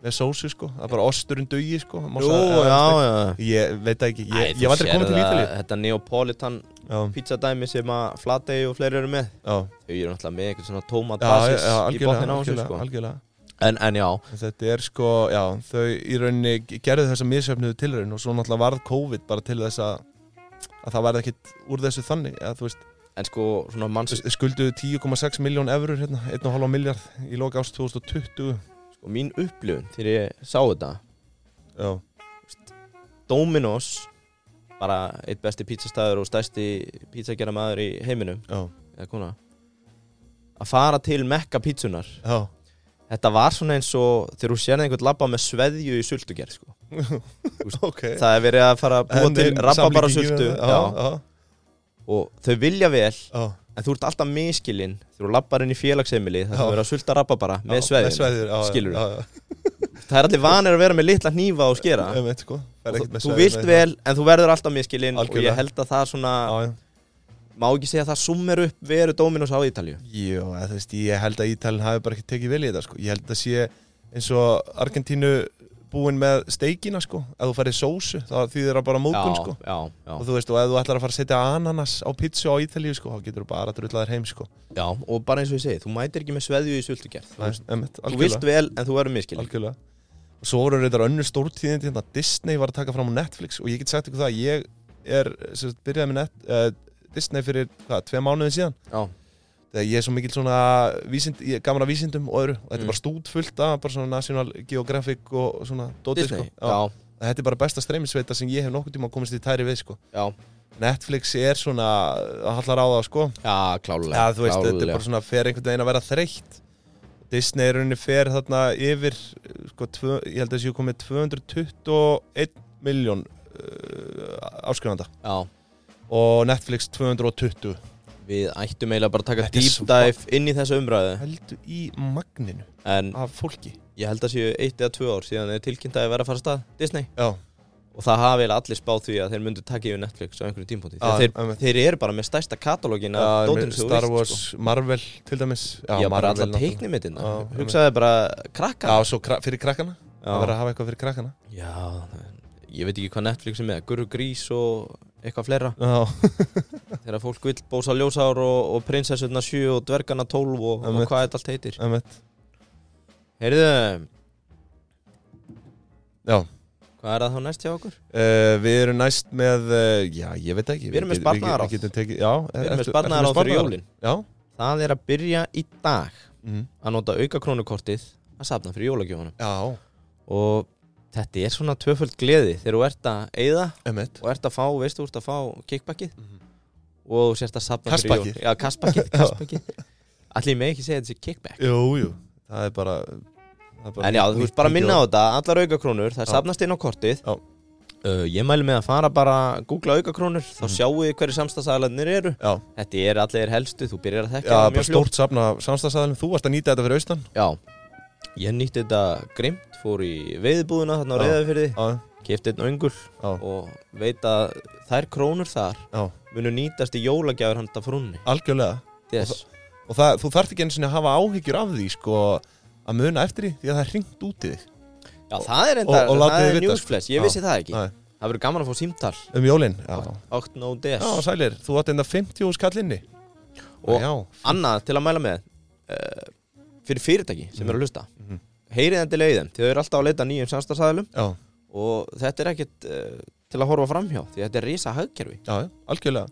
[SPEAKER 1] með sósu sko Það er bara osturinn dugi sko Má
[SPEAKER 2] Jú,
[SPEAKER 1] sagði-
[SPEAKER 2] já,
[SPEAKER 1] eða-
[SPEAKER 2] já
[SPEAKER 1] Ég veit það ekki,
[SPEAKER 2] Æ,
[SPEAKER 1] ég,
[SPEAKER 2] þú
[SPEAKER 1] ég var aldrei
[SPEAKER 2] sérð
[SPEAKER 1] komið til
[SPEAKER 2] að
[SPEAKER 1] Ítalíu
[SPEAKER 2] Þetta Neapolitan
[SPEAKER 1] Já,
[SPEAKER 2] pizzadæmi sem að Flatey og fleiri eru með
[SPEAKER 1] já,
[SPEAKER 2] Þau eru náttúrulega með eitthvað svona
[SPEAKER 1] já,
[SPEAKER 2] tómatbasis
[SPEAKER 1] já,
[SPEAKER 2] í botnin á
[SPEAKER 1] algjörlega,
[SPEAKER 2] þessu
[SPEAKER 1] algjörlega,
[SPEAKER 2] sko
[SPEAKER 1] algjörlega
[SPEAKER 2] en, en já,
[SPEAKER 1] En Þetta er sko, já, þau í rauninni gerðu þessa misjöfnuðu tilraun og svo náttúrulega varð COVID bara til þess að að það verði ekkit úr þessu þannig að þú veist,
[SPEAKER 2] en sko svona manns,
[SPEAKER 1] þau skulduðu 10,6 miljón eurur hérna, 1,5 miljard í loka ást 2020
[SPEAKER 2] sko, mín upplifun þegar ég sá þetta
[SPEAKER 1] Já,
[SPEAKER 2] Dominos bara eitt besti pizzastæður og stærsti pizzagera maður í heiminum
[SPEAKER 1] já,
[SPEAKER 2] eða kona að fara til mekka pizzunar
[SPEAKER 1] já
[SPEAKER 2] þetta var svona eins og þegar þú sérði einhvern labba með sveðju í sultugerð
[SPEAKER 1] [LAUGHS]
[SPEAKER 2] sko.
[SPEAKER 1] ok
[SPEAKER 2] það er verið að fara að búa til rabba bara sultu já.
[SPEAKER 1] já,
[SPEAKER 2] og þau vilja vel
[SPEAKER 1] já,
[SPEAKER 2] en þú ert alltaf miskilinn þegar þú labbar inn í félagsheimili það
[SPEAKER 1] Já.
[SPEAKER 2] er verið að sulta rabba bara með
[SPEAKER 1] með
[SPEAKER 2] sveðju
[SPEAKER 1] sveðjur já, já,
[SPEAKER 2] Skilurðu?
[SPEAKER 1] já, já.
[SPEAKER 2] það er allir vanir að vera með litla hnífa og skera
[SPEAKER 1] Ég veit, sko, fer
[SPEAKER 2] og
[SPEAKER 1] ekkert
[SPEAKER 2] þú,
[SPEAKER 1] með
[SPEAKER 2] þú
[SPEAKER 1] sveðjur,
[SPEAKER 2] vilt
[SPEAKER 1] nei,
[SPEAKER 2] vel en þú verður alltaf miskilinn og
[SPEAKER 1] Algjörlega.
[SPEAKER 2] ég held að það er svona
[SPEAKER 1] já, já.
[SPEAKER 2] má ekki segja að það summer upp veru Dominos á Ítalju
[SPEAKER 1] Jó, eða þú veist, ég held að Ítalinn hafi bara ekki tekið vel í þetta, sko Ég held að sé eins og Argentínu búin með steikina, sko Ef þú farið sósu, þá þýðir það bara mókun, sko
[SPEAKER 2] já, já,
[SPEAKER 1] Og þú veist, og ef þú ætlar að fara að setja ananas á pizzu á Ítalíu, sko Þá getur þú bara að drulla þér heim, sko
[SPEAKER 2] já, og bara eins og ég segi, þú mætir ekki með sveðju í sultugerð
[SPEAKER 1] Nei, einmitt,
[SPEAKER 2] þú vilt
[SPEAKER 1] algjörlega,
[SPEAKER 2] vel en þú verður miskilinn
[SPEAKER 1] algjörlega Og svo voru reyndar önnur stórtíðindi hérna Disney var að taka fram á Netflix og ég get sagt ykkur það Ég er, sem sagt, byrjaði með net, uh, Disney fyrir, hvað, tve mánuðin síðan
[SPEAKER 2] já,
[SPEAKER 1] Þegar ég er svo mikil svona vísind, ég er gaman að vísindum og öðru og þetta er
[SPEAKER 2] Mm.
[SPEAKER 1] bara stútfullt af bara svona National Geographic og svona dótið,
[SPEAKER 2] Disney,
[SPEAKER 1] sko.
[SPEAKER 2] já,
[SPEAKER 1] Þetta er bara besta streymisveita sem ég hef nokkuð tíma komist í tæri við sko.
[SPEAKER 2] já,
[SPEAKER 1] Netflix er svona að hallar á það sko.
[SPEAKER 2] já, klálega
[SPEAKER 1] Já, þú veist, þetta er bara svona fer einhvern veginn að vera þreytt Disney er rauninni fer þarna yfir sko, tvö, ég held að þessi komið 221 miljón uh, áskrifanda
[SPEAKER 2] já,
[SPEAKER 1] og Netflix 220
[SPEAKER 2] við ættum eiginlega bara að taka
[SPEAKER 1] Þetta er
[SPEAKER 2] deep
[SPEAKER 1] svo-
[SPEAKER 2] dive inn í þessa umræðu
[SPEAKER 1] heldur í magninu
[SPEAKER 2] en
[SPEAKER 1] af fólki
[SPEAKER 2] ég held að séu eitt eða tvö ár síðan er tilkynnt að ég verða að fara af stað Disney
[SPEAKER 1] Já,
[SPEAKER 2] og og það hafi eiginlega allir spáð því að þeir myndu taka yfir Netflix á einhverjum tímpóti
[SPEAKER 1] Já,
[SPEAKER 2] þeir,
[SPEAKER 1] einmitt.
[SPEAKER 2] þeir eru bara með stærsta katalógin af
[SPEAKER 1] Já,
[SPEAKER 2] dótinu
[SPEAKER 1] með
[SPEAKER 2] sem þú
[SPEAKER 1] Star
[SPEAKER 2] veist,
[SPEAKER 1] Wars,
[SPEAKER 2] sko.
[SPEAKER 1] Marvel til dæmis
[SPEAKER 2] Já, bara
[SPEAKER 1] Marvel
[SPEAKER 2] allar
[SPEAKER 1] náttúrulega.
[SPEAKER 2] teiknimitina
[SPEAKER 1] Já,
[SPEAKER 2] Hugsaði bara krakka
[SPEAKER 1] Já, svo kra fyrir krakkana Það verður að hafa eitthvað fyrir krakkana
[SPEAKER 2] Já, ég veit ekki hvað Netflix er með Guru Grís og eitthvað [LAUGHS] fleira
[SPEAKER 1] Já,
[SPEAKER 2] Þegar fólk vill bósa ljósár og, og prinsessuna 7 og dvergana 12 og, og
[SPEAKER 1] Einmitt.
[SPEAKER 2] hvað þetta allt heitir
[SPEAKER 1] emmitt
[SPEAKER 2] Heyrðu,
[SPEAKER 1] Já,
[SPEAKER 2] hvað er það þá næst hjá okkur?
[SPEAKER 1] uh, við erum næst með, uh, já, ég veit ekki
[SPEAKER 2] Við erum
[SPEAKER 1] get-
[SPEAKER 2] með
[SPEAKER 1] við-
[SPEAKER 2] sparnaðaráð.
[SPEAKER 1] Við getum tekið, já eh,
[SPEAKER 2] Við
[SPEAKER 1] ertu-
[SPEAKER 2] erum með
[SPEAKER 1] ertu
[SPEAKER 2] sparnaðar á fyrir
[SPEAKER 1] sparnaðaráð?
[SPEAKER 2] jólin Mhm.
[SPEAKER 1] Já
[SPEAKER 2] Það er að byrja í dag
[SPEAKER 1] mm.
[SPEAKER 2] að nota auka krónukortið að safna fyrir jólagjóðunum
[SPEAKER 1] Já,
[SPEAKER 2] og þetta er svona tvöföld gleði þegar þú ert að eyða
[SPEAKER 1] emmitt
[SPEAKER 2] og ert að fá, veistu, þú ert að fá kickbackið
[SPEAKER 1] Mhm.
[SPEAKER 2] og þú sért að safna
[SPEAKER 1] Kastbakkið.
[SPEAKER 2] fyrir jól Já,
[SPEAKER 1] [LAUGHS]
[SPEAKER 2] kastbakkið, kastbakkið Allir með ekki segja þessi kickback
[SPEAKER 1] Jú, jú, það er bara það er bara
[SPEAKER 2] En já,
[SPEAKER 1] nýtt-
[SPEAKER 2] þú veist bara
[SPEAKER 1] nýtt
[SPEAKER 2] að minna á
[SPEAKER 1] jól.
[SPEAKER 2] þetta, allar aukakrónur, það
[SPEAKER 1] Já.
[SPEAKER 2] safnast inn á kortið
[SPEAKER 1] Já.
[SPEAKER 2] uh, Ég mæli með að fara bara að googla aukakrónur, þá
[SPEAKER 1] Mhm.
[SPEAKER 2] mm. sjáu þið hverju samstagsæðlarnir eru
[SPEAKER 1] Já,
[SPEAKER 2] Þetta er allir helstu, þú byrjar að
[SPEAKER 1] já
[SPEAKER 2] þekka það
[SPEAKER 1] bara
[SPEAKER 2] mjög fljótt.
[SPEAKER 1] stórt safna samstagsæðalum Þú varst að nýta þetta fyrir austan
[SPEAKER 2] Já, ég nýtti þetta grimt, fór í veiðbúðuna þarna á
[SPEAKER 1] Já.
[SPEAKER 2] reyðafyrði
[SPEAKER 1] Já,
[SPEAKER 2] Kefti einn öngul
[SPEAKER 1] já,
[SPEAKER 2] og veit að þær krónur þar
[SPEAKER 1] já,
[SPEAKER 2] munu nýtast í jólagjafur handa frúnni
[SPEAKER 1] algjörlega
[SPEAKER 2] Þess,
[SPEAKER 1] og það, þú þarft ekki einu sinni að hafa áhyggjur af því sko, að muna eftir því því að það er hringt út í þig
[SPEAKER 2] Já, það er enda,
[SPEAKER 1] og- og látið
[SPEAKER 2] það
[SPEAKER 1] þið
[SPEAKER 2] er
[SPEAKER 1] vita, sko.
[SPEAKER 2] newsflash, ég
[SPEAKER 1] Já.
[SPEAKER 2] vissi það ekki
[SPEAKER 1] Nei.
[SPEAKER 2] Það verður gaman að fá símtal,
[SPEAKER 1] um jólin já.
[SPEAKER 2] 8 no des
[SPEAKER 1] já, sælir, þú átt enda 50 hús kallinni
[SPEAKER 2] Og-
[SPEAKER 1] já,
[SPEAKER 2] Annað til að mæla með uh, fyrir fyrirtæki sem eru að hlusta
[SPEAKER 1] Mhm.
[SPEAKER 2] heyrið endilega í þeim, því þau eru alltaf að leita að nýjum samstagsæðilum
[SPEAKER 1] já,
[SPEAKER 2] og þetta er ekkert uh, til að horfa framhjá því þetta er risa hagkerfi
[SPEAKER 1] já, algjörlega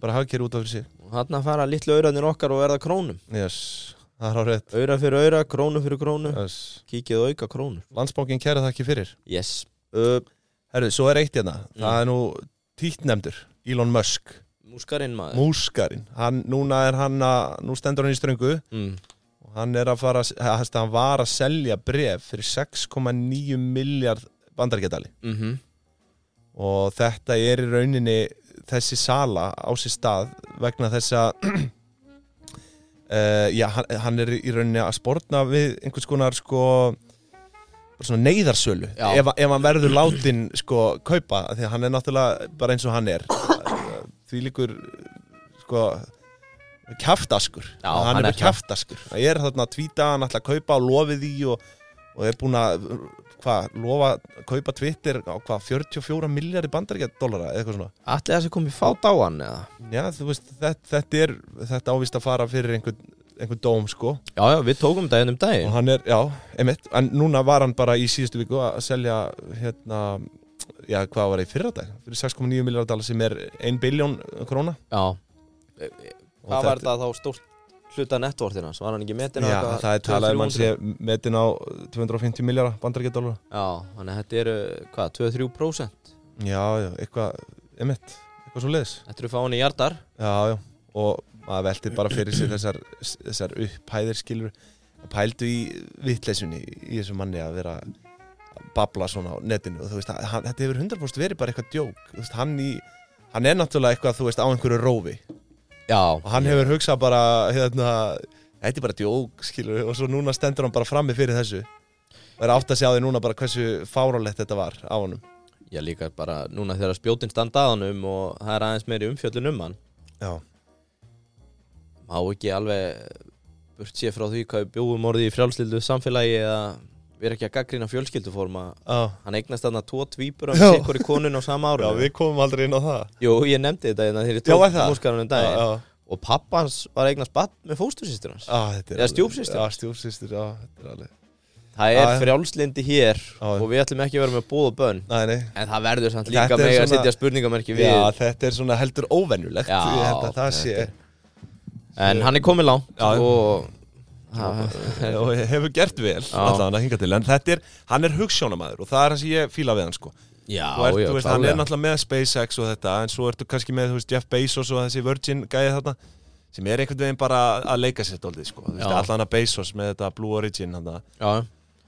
[SPEAKER 1] bara hagkerri út af fyrir sig
[SPEAKER 2] og þarna fara litlu auðranir okkar og verða krónum
[SPEAKER 1] yes. það er á rétt
[SPEAKER 2] auðra fyrir auðra, krónu fyrir krónu
[SPEAKER 1] yes.
[SPEAKER 2] kíkið og auka krónu
[SPEAKER 1] landsbókin kæra það ekki fyrir
[SPEAKER 2] yes. uh,
[SPEAKER 1] herru, svo er eitt hérna,
[SPEAKER 2] Mm.
[SPEAKER 1] það er nú tíknemdur Elon Musk,
[SPEAKER 2] Múskarinn maður
[SPEAKER 1] múskarinn hann, núna er hann að, nú stendur hann í ströngu
[SPEAKER 2] mm.
[SPEAKER 1] og hann er að fara, að- hann hann var að selja bref fyrir 6,9 miljard bandargetali
[SPEAKER 2] Mm
[SPEAKER 1] og þetta er í rauninni þessi sala á sér stað vegna þess að [CLEARS THROAT] uh, já, hann, hann er í rauninni að spórna við einhvers konar sko bara svona neyðarsölu
[SPEAKER 2] Já.
[SPEAKER 1] ef, ef hann verður látin sko kaupa því að hann er náttúrulega bara eins og hann er því líkur sko kjaftaskur
[SPEAKER 2] Já,
[SPEAKER 1] hann,
[SPEAKER 2] hann
[SPEAKER 1] er
[SPEAKER 2] er
[SPEAKER 1] með kjaftaskur það er þarna að tvíta, hann ætla að kaupa og lofið í og, og er búin að hvað, lofa, að kaupa Twitter á hvað, 44 miljardi bandaríkja dollara eða eitthvað svona
[SPEAKER 2] Allir þessi komið fát á hann eða?
[SPEAKER 1] Já, þú veist, þetta, þetta er þetta ávist að fara fyrir einhvern einhvern dóm sko
[SPEAKER 2] Já, já, við tókum þetta hennum
[SPEAKER 1] og
[SPEAKER 2] daginn
[SPEAKER 1] hann er, já, einmitt, en núna var hann bara í síðustu viku að selja hérna, já, hvað var það í fyrradag fyrir 6,9 miljardar dollara sem er 1 biljón króna
[SPEAKER 2] Já
[SPEAKER 1] Og
[SPEAKER 2] Hvað var þetta þá stórt hluta netvortina? Svo var hann ekki metin á
[SPEAKER 1] Já,
[SPEAKER 2] eitthvað
[SPEAKER 1] það er talað um hann
[SPEAKER 2] 200-300?
[SPEAKER 1] sé metin á 250 miljardar bandaríkja dollara
[SPEAKER 2] Já, þannig að þetta eru, hvað, 2-3%
[SPEAKER 1] Já, já, eitthvað, einmitt, eitthvað svo leiðis
[SPEAKER 2] Þetta eru fáinni hjartar
[SPEAKER 1] Já, já, og maður veltir bara fyrir sér þessar, þessar upphæðir skilur pældu í vitleysunni í þessu manni að vera að babla svona á netinu og þú veist, hann, þetta hefur 100% verið bara eitthvað djók þú veist, hann, í, hann er náttúrulega eitthvað, þú veist, á einhverju rófi
[SPEAKER 2] Já
[SPEAKER 1] og hann hefur hugsað bara, hérna þetta er bara djók, skilur, og svo núna stendur hann bara frammi fyrir þessu og er átt að segja á því núna bara hversu fárálegt þetta var á honum
[SPEAKER 2] Já, líka bara núna þegar spjótin standa að honum og það er aðeins meiri umfjöllun um hann
[SPEAKER 1] Já,
[SPEAKER 2] Má ekki alveg burt sér frá því hvað við bjóum orðið í frjálslildu samfélagi eða við erum ekki að gaggrina fjölskylduforma
[SPEAKER 1] já,
[SPEAKER 2] Hann eignast þarna tvo tvíbura
[SPEAKER 1] Já.
[SPEAKER 2] með sikkur í konun á sama ára
[SPEAKER 1] við komum aldrei inn á það
[SPEAKER 2] Jú, ég nefndi þetta hérna þegar ég
[SPEAKER 1] Já, var
[SPEAKER 2] tók
[SPEAKER 1] það?
[SPEAKER 2] múskarunum
[SPEAKER 1] Já,
[SPEAKER 2] daginn
[SPEAKER 1] já.
[SPEAKER 2] Og pappans var að eignast batt með fóstursýstur hans
[SPEAKER 1] Ah, þetta er
[SPEAKER 2] Eða
[SPEAKER 1] alveg-
[SPEAKER 2] stjúpsystir.
[SPEAKER 1] Já, stjúpsýstur, já, þetta er alveg
[SPEAKER 2] Það
[SPEAKER 1] Já,
[SPEAKER 2] er
[SPEAKER 1] já.
[SPEAKER 2] frjálslindi hér
[SPEAKER 1] já.
[SPEAKER 2] og við ætlum ekki að vera með bóð og bönn
[SPEAKER 1] Nei, nei
[SPEAKER 2] En það verður samt
[SPEAKER 1] Þetta
[SPEAKER 2] líka
[SPEAKER 1] er
[SPEAKER 2] með að
[SPEAKER 1] svona-
[SPEAKER 2] setja spurningamerki við
[SPEAKER 1] Já, þetta er svona heldur óvenjulegt
[SPEAKER 2] Já,
[SPEAKER 1] Ég held að það sé
[SPEAKER 2] þetta En hann er komið langt
[SPEAKER 1] Já.
[SPEAKER 2] og ha,
[SPEAKER 1] [LAUGHS] Og hefur gert vel Allan að hinga til En þetta er, hann er hugsjónamaður Og það er það sem ég fíla við hann, sko
[SPEAKER 2] Já,
[SPEAKER 1] Þú ert,
[SPEAKER 2] já,
[SPEAKER 1] þú veist, hann er náttúrulega með SpaceX og þetta En svo ertu kannski með, þú veist, Jeff Bezos og þessi Virgin gæði þarna Sem er einhvern veginn bara að leika sér dóldið, sko Þú veist,
[SPEAKER 2] Já.
[SPEAKER 1] allan að Bezos með þetta Blue Origin hann
[SPEAKER 2] já,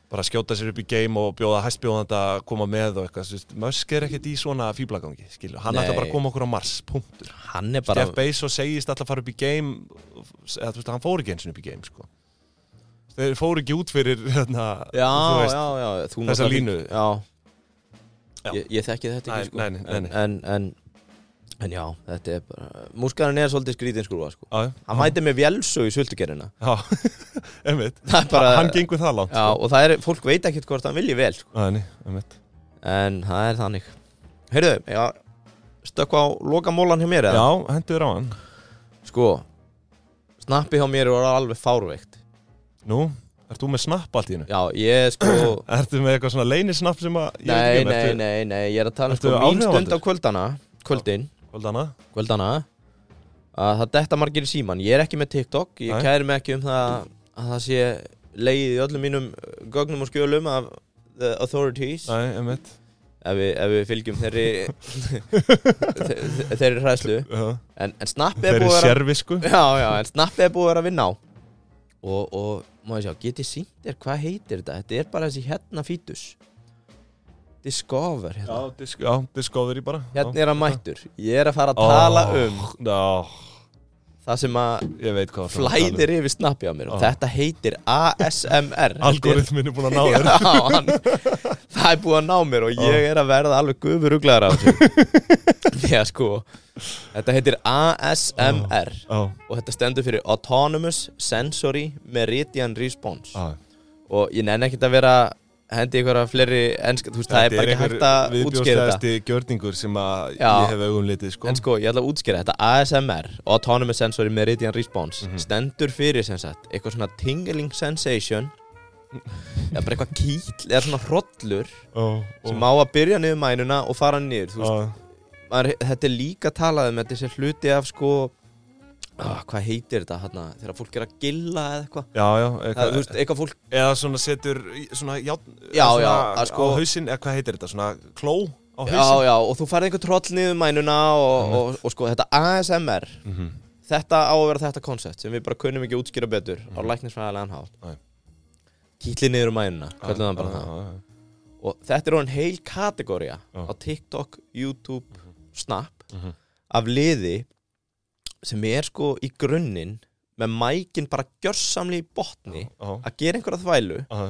[SPEAKER 1] Bara skjóta sér upp í game og bjóða hæstbjóðanda að koma með og eitthvað, þú veist, Musk er ekkert í svona fíblagangi, skilur, hann ætla
[SPEAKER 2] Nei.
[SPEAKER 1] bara að koma okkur á Mars, punktur.
[SPEAKER 2] Hann er bara
[SPEAKER 1] Jeff Bezos segist alltaf að fara upp í game eða þú veist, hann fór ekki eins og upp í game sko. þeir fóru ekki út fyrir hérna,
[SPEAKER 2] Já,
[SPEAKER 1] þú veist,
[SPEAKER 2] já, já þú
[SPEAKER 1] þessa
[SPEAKER 2] náttúrulega-
[SPEAKER 1] línu.
[SPEAKER 2] Já,
[SPEAKER 1] Já.
[SPEAKER 2] ég, ég þekki þetta
[SPEAKER 1] Nei,
[SPEAKER 2] ekki sko
[SPEAKER 1] nei, nei, nei, nei.
[SPEAKER 2] En, en, en, en já, þetta er bara Múskarinn er svolítið skrítinn skrúfa sko
[SPEAKER 1] Já,
[SPEAKER 2] Hann mæti með vélsög í sultugerina
[SPEAKER 1] já, einmitt
[SPEAKER 2] Það er bara
[SPEAKER 1] Hann gengur það langt
[SPEAKER 2] Já, og það er, fólk veit ekkert hvort hann vilji vel sko.
[SPEAKER 1] Þannig, einmitt
[SPEAKER 2] En það er þannig Heyrðu, já Stökkva á lokamólan hjá mér
[SPEAKER 1] Já,
[SPEAKER 2] eða?
[SPEAKER 1] hendur á hann
[SPEAKER 2] Sko Snappi hjá mér var alveg fárveikt
[SPEAKER 1] Nú, ert þú með snapp allt í hennu?
[SPEAKER 2] Já, ég sko
[SPEAKER 1] Ertu með eitthvað svona leynisnapp sem að ég
[SPEAKER 2] [COUGHS] Nei,
[SPEAKER 1] veit
[SPEAKER 2] nei,
[SPEAKER 1] ekki um,
[SPEAKER 2] nei, nei, ég er að tala um
[SPEAKER 1] Ertu
[SPEAKER 2] sko mín
[SPEAKER 1] áhrifavaldur?
[SPEAKER 2] stund á kvöldana Kvöldin,
[SPEAKER 1] nei Kvöldana
[SPEAKER 2] kvöldana að það detta margir í síman Ég er ekki með TikTok, ég
[SPEAKER 1] Nei.
[SPEAKER 2] kæri mig ekki um það að það sé leið í öllum mínum uh, gögnum og skjölum af the authorities
[SPEAKER 1] Nei, einmitt
[SPEAKER 2] ef við, ef við fylgjum þeirri
[SPEAKER 1] [LAUGHS]
[SPEAKER 2] [LAUGHS] þe- þe- þeirri hræðslu
[SPEAKER 1] Já.
[SPEAKER 2] en, en snappi er
[SPEAKER 1] Þeir eru
[SPEAKER 2] búið að vera
[SPEAKER 1] sérvisku
[SPEAKER 2] já, já, en snappi er búið að vera að vinna á og, og má ég sjá, get ég sínt þér hvað heitir þetta, þetta er bara þessi hérna fítus Discover
[SPEAKER 1] Já,
[SPEAKER 2] hérna.
[SPEAKER 1] disk, já, Discovery bara
[SPEAKER 2] hérna er að mættur ég er að fara að tala um
[SPEAKER 1] Já,
[SPEAKER 2] það sem að
[SPEAKER 1] ég veit hvað þú ert að tala um.
[SPEAKER 2] flæðir yfir snappi á mér og
[SPEAKER 1] Ó.
[SPEAKER 2] þetta heitir ASMR [LAUGHS]
[SPEAKER 1] Algoritmin er búin að ná
[SPEAKER 2] Já,
[SPEAKER 1] þér
[SPEAKER 2] hann, það er búið að ná mér og ég er að verða alveg gufuruglaðar á þessu
[SPEAKER 1] [LAUGHS]
[SPEAKER 2] Já, sko Þetta heitir ASMR
[SPEAKER 1] Já,
[SPEAKER 2] og þetta stendur fyrir Autonomous Sensory Meridian Response
[SPEAKER 1] já
[SPEAKER 2] og ég nenni ekkert að vera hendi ykkur að fleiri enska, þú veist, það er bara ekki hægt að útskýra þetta
[SPEAKER 1] viðbjóðslegasti gjörningur sem að
[SPEAKER 2] Já.
[SPEAKER 1] ég hef augum litið sko.
[SPEAKER 2] En sko, ég ætla að útskýra þetta ASMR, Autonomous Sensory Meridian Response stendur fyrir sem sagt eitthvað svona tingling sensation eða bara eitthvað kýll eða svona hrollur
[SPEAKER 1] Ó, ó,
[SPEAKER 2] sem á að byrja niður mænuna og fara niður þú veist,
[SPEAKER 1] á,
[SPEAKER 2] maður, þetta er líka talað um þetta er sér hluti af sko ah, hvað heitir þetta hérna þegar fólk er að gilla eða eitthvað
[SPEAKER 1] Já, já
[SPEAKER 2] Það, þú
[SPEAKER 1] eitthvað,
[SPEAKER 2] veist, eitthvað fólk,
[SPEAKER 1] Eða svona setur í- svona, járn-
[SPEAKER 2] Já,
[SPEAKER 1] svona
[SPEAKER 2] já, að sko-
[SPEAKER 1] Á hausinn, eða hvað heitir þetta? Svona kló á
[SPEAKER 2] já,
[SPEAKER 1] hausinn
[SPEAKER 2] já, og þú farið einhver troll niður mænuna og, og, og, sko, þetta ASMR
[SPEAKER 1] Mhm.
[SPEAKER 2] þetta á að vera þetta koncept sem við bara kunnum ekki útskýra betur á
[SPEAKER 1] Mhm.
[SPEAKER 2] læknisfræðilegan hál
[SPEAKER 1] Nei.
[SPEAKER 2] kýtli niður um mænuna, kallum það bara
[SPEAKER 1] Já,
[SPEAKER 2] það
[SPEAKER 1] já, já.
[SPEAKER 2] og þetta er orðin heil kategória
[SPEAKER 1] Já.
[SPEAKER 2] á TikTok, YouTube, Snap
[SPEAKER 1] Mhm.
[SPEAKER 2] af liði sem er sko í grunninn með mækin bara gjörsamli í botni
[SPEAKER 1] Já,
[SPEAKER 2] að gera einhverja þvælu
[SPEAKER 1] já,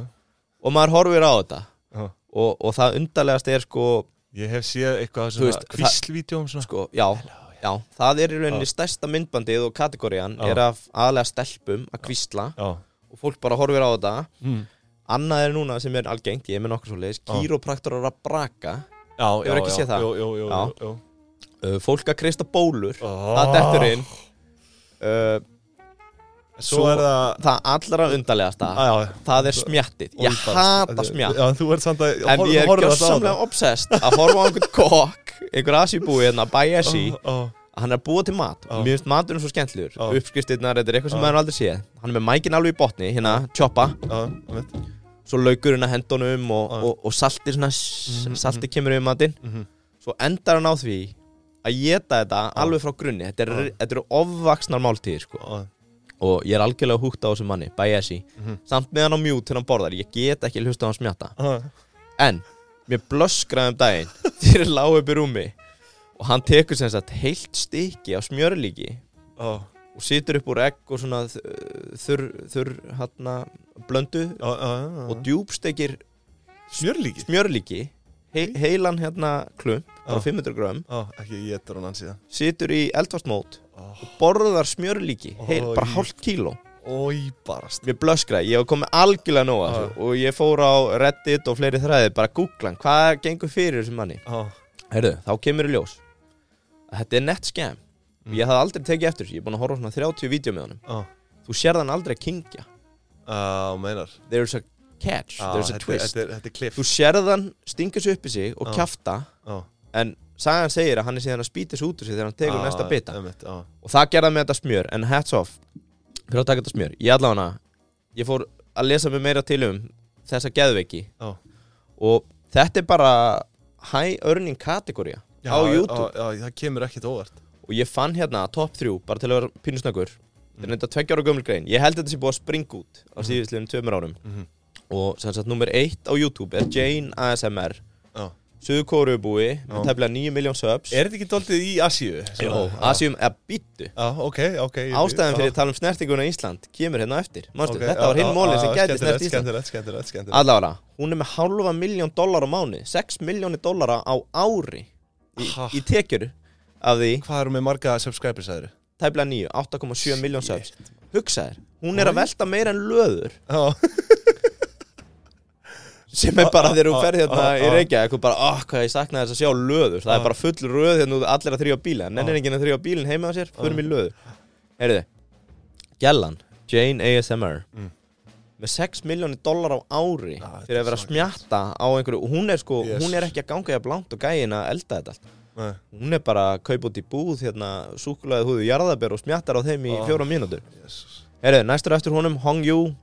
[SPEAKER 2] og maður horfir á þetta
[SPEAKER 1] já.
[SPEAKER 2] og, og það undarlegast er sko,
[SPEAKER 1] Ég hef séð eitthvað
[SPEAKER 2] Þú
[SPEAKER 1] svona
[SPEAKER 2] veist, það-
[SPEAKER 1] kvíslvídeóm svona
[SPEAKER 2] sko já, já, það er í rauninni stærsta myndbandið og kategórian
[SPEAKER 1] Já.
[SPEAKER 2] er af aðlega stelpum að kvísla
[SPEAKER 1] Já,
[SPEAKER 2] og fólk bara horfir á þetta
[SPEAKER 1] mm.
[SPEAKER 2] annað er núna sem er algengt, ég er með nokkur svo leiðis
[SPEAKER 1] Já.
[SPEAKER 2] kýrópraktorar að braka
[SPEAKER 1] já, já
[SPEAKER 2] Hefur ekki
[SPEAKER 1] já,
[SPEAKER 2] séð það?
[SPEAKER 1] Jú, jú, jú,
[SPEAKER 2] Já.
[SPEAKER 1] jú, jú.
[SPEAKER 2] uh, fólk að kreista bólur
[SPEAKER 1] Oh.
[SPEAKER 2] það dettur inn uh,
[SPEAKER 1] Svo er það
[SPEAKER 2] það allra undarlegasta
[SPEAKER 1] Já, já,
[SPEAKER 2] það er smjattið, Ah, ég hata smjatt
[SPEAKER 1] Já, en þú ert samt að
[SPEAKER 2] en
[SPEAKER 1] horf-
[SPEAKER 2] ég er
[SPEAKER 1] horfir alltaf á
[SPEAKER 2] gjössamlega obsessed að horfa á einhvern kokk einhver asibúi hérna,
[SPEAKER 1] það.
[SPEAKER 2] bæjasí
[SPEAKER 1] Ó, ó,
[SPEAKER 2] hann er að búa til mat,
[SPEAKER 1] Já.
[SPEAKER 2] mér finnst maturinn svo skemmtluður
[SPEAKER 1] Já.
[SPEAKER 2] uppskriftirnar, þetta er eitthvað sem
[SPEAKER 1] Já.
[SPEAKER 2] maður aldrei séð hann er með mækin alveg í botni, hérna, choppa
[SPEAKER 1] Já, einmitt.
[SPEAKER 2] svo laukurinn að hendunum og,
[SPEAKER 1] Já.
[SPEAKER 2] og, og salti svona, mm
[SPEAKER 1] Mhm,
[SPEAKER 2] salti kemur yfir matinn
[SPEAKER 1] Mhm.
[SPEAKER 2] svo endar hann á því að geta þetta alveg frá grunni þetta eru- þetta eru ofvaksnar máltíðir sko.
[SPEAKER 1] Já,
[SPEAKER 2] og ég er algjörlega húgt á þessum manni Bayesi,
[SPEAKER 1] Mhm.
[SPEAKER 2] samt með hann á mjút til hann borðar ég get ekki hlusta á hann smjata
[SPEAKER 1] já.
[SPEAKER 2] en mér blöskraði um daginn [LAUGHS] þegar ég lág upp í rúmi og hann tekur sem sagt heilt stykki á smjörlíki
[SPEAKER 1] Já,
[SPEAKER 2] og situr upp úr egg og svona þ- þurr, þurr hann blöndu
[SPEAKER 1] já, já, já.
[SPEAKER 2] og djúbstekir
[SPEAKER 1] smjörlíki?
[SPEAKER 2] smjörlíki he heilan hérna klump, bara
[SPEAKER 1] Já.
[SPEAKER 2] 500 gram
[SPEAKER 1] Já, ekki ég etur hann síðan
[SPEAKER 2] situr í eldfastmót
[SPEAKER 1] Ó,
[SPEAKER 2] borðar smjörlíki, heil,
[SPEAKER 1] Oj.
[SPEAKER 2] bara hálft kíló
[SPEAKER 1] Ói, barast
[SPEAKER 2] mér blöskraði, ég hef komið algjörlega nóg
[SPEAKER 1] Já.
[SPEAKER 2] ah. og ég fór á Reddit og fleiri þræði bara að googla hann, hvað gengur fyrir þessum manni
[SPEAKER 1] Já,
[SPEAKER 2] Herðu, þá kemur í ljós að þetta er nett skem
[SPEAKER 1] Mm.
[SPEAKER 2] ég hafði aldrei tekið eftir þessu, ég er búin að horfa á svona 30 vídeo með honum,
[SPEAKER 1] já,
[SPEAKER 2] þú sér þann aldrei kingja
[SPEAKER 1] já, meinar
[SPEAKER 2] there's a catch,
[SPEAKER 1] Já,
[SPEAKER 2] there's a
[SPEAKER 1] þetta-
[SPEAKER 2] twist
[SPEAKER 1] Þetta er- þetta er kliff
[SPEAKER 2] þú sér þann stinga sig upp í sig og
[SPEAKER 1] Já.
[SPEAKER 2] kjafta
[SPEAKER 1] Já,
[SPEAKER 2] en sagan segir að hann er síðan að spýta sig út úr sig þegar hann tekur
[SPEAKER 1] já,
[SPEAKER 2] næsta bita
[SPEAKER 1] einmitt, Já,
[SPEAKER 2] og það gerða með þetta smjör en hats off fyrir að taka þetta smjör ég allavega ég fór að lesa mig meira til um þessa geðveiki
[SPEAKER 1] já
[SPEAKER 2] og þetta er bara high earning kategória
[SPEAKER 1] Já,
[SPEAKER 2] á YouTube
[SPEAKER 1] Já, já, það kemur ekkert óvart
[SPEAKER 2] og ég fann hérna top 3 bara til að vera pínusnöggur þetta er neitt að tveggja ára gömul grein ég held þetta sé búið að springa út á síðustliðum tveimur árum
[SPEAKER 1] Mhm.
[SPEAKER 2] og sem sagt nummer 1 á YouTube er Jane ASMR
[SPEAKER 1] Já,
[SPEAKER 2] Suðu Kóruubúi
[SPEAKER 1] Já.
[SPEAKER 2] með tæmlega 9 miljón subs
[SPEAKER 1] Er þetta ekki doldið í Asíu?
[SPEAKER 2] Jó,
[SPEAKER 1] Svona,
[SPEAKER 2] Asjum eða býttu
[SPEAKER 1] Já, ok, ok ég-
[SPEAKER 2] Ástæðan fyrir
[SPEAKER 1] já,
[SPEAKER 2] að tala um snertinguna í Ísland kemur hérna á eftir Manstu,
[SPEAKER 1] ok,
[SPEAKER 2] þetta var
[SPEAKER 1] já,
[SPEAKER 2] hinn
[SPEAKER 1] já,
[SPEAKER 2] mólin
[SPEAKER 1] já,
[SPEAKER 2] sem
[SPEAKER 1] skemmtilegt,
[SPEAKER 2] gæti snert Ísland
[SPEAKER 1] Skemmtilegt, skemmtilegt, skemmtilegt
[SPEAKER 2] Allavega, hún er með halva miljón dólar á mánu 6 miljónir dólara á ári í,
[SPEAKER 1] Ha.
[SPEAKER 2] í tekjur af því
[SPEAKER 1] Hvað eru með marga subscribers aðri?
[SPEAKER 2] tæmlega 9, 8,7 miljón subs Hugsaðir, hún er að velta meira en löður
[SPEAKER 1] Já,
[SPEAKER 2] sem er bara þegar þú
[SPEAKER 1] Ah,
[SPEAKER 2] ferð hérna
[SPEAKER 1] ah,
[SPEAKER 2] í
[SPEAKER 1] ah.
[SPEAKER 2] Reykjavík og bara, ah, hvað ég saknaði þess að sjá löður það
[SPEAKER 1] Ah.
[SPEAKER 2] er bara full röð hérna út allir að þrjá bíla en ennir enginn að þrjá bílinn heima á sér, förum í löður Heyrðu, Gellan Jane ASMR
[SPEAKER 1] Mm.
[SPEAKER 2] með 6 miljónir dólar á ári
[SPEAKER 1] Ah, þetta
[SPEAKER 2] fyrir að
[SPEAKER 1] er
[SPEAKER 2] vera að smjatta á einhverju og hún er sko, hún er
[SPEAKER 1] Jesus.
[SPEAKER 2] ekki að ganga hjá blánt og gæin að elda þetta allt
[SPEAKER 1] nei,
[SPEAKER 2] hún er bara að kaupa út í búð hérna, súkulaði húðu jarðabér og smjattar á þeim í
[SPEAKER 1] Ah.
[SPEAKER 2] fjóra mínútur
[SPEAKER 1] Jesus
[SPEAKER 2] Herru, næstur eftir honum, Hong Yu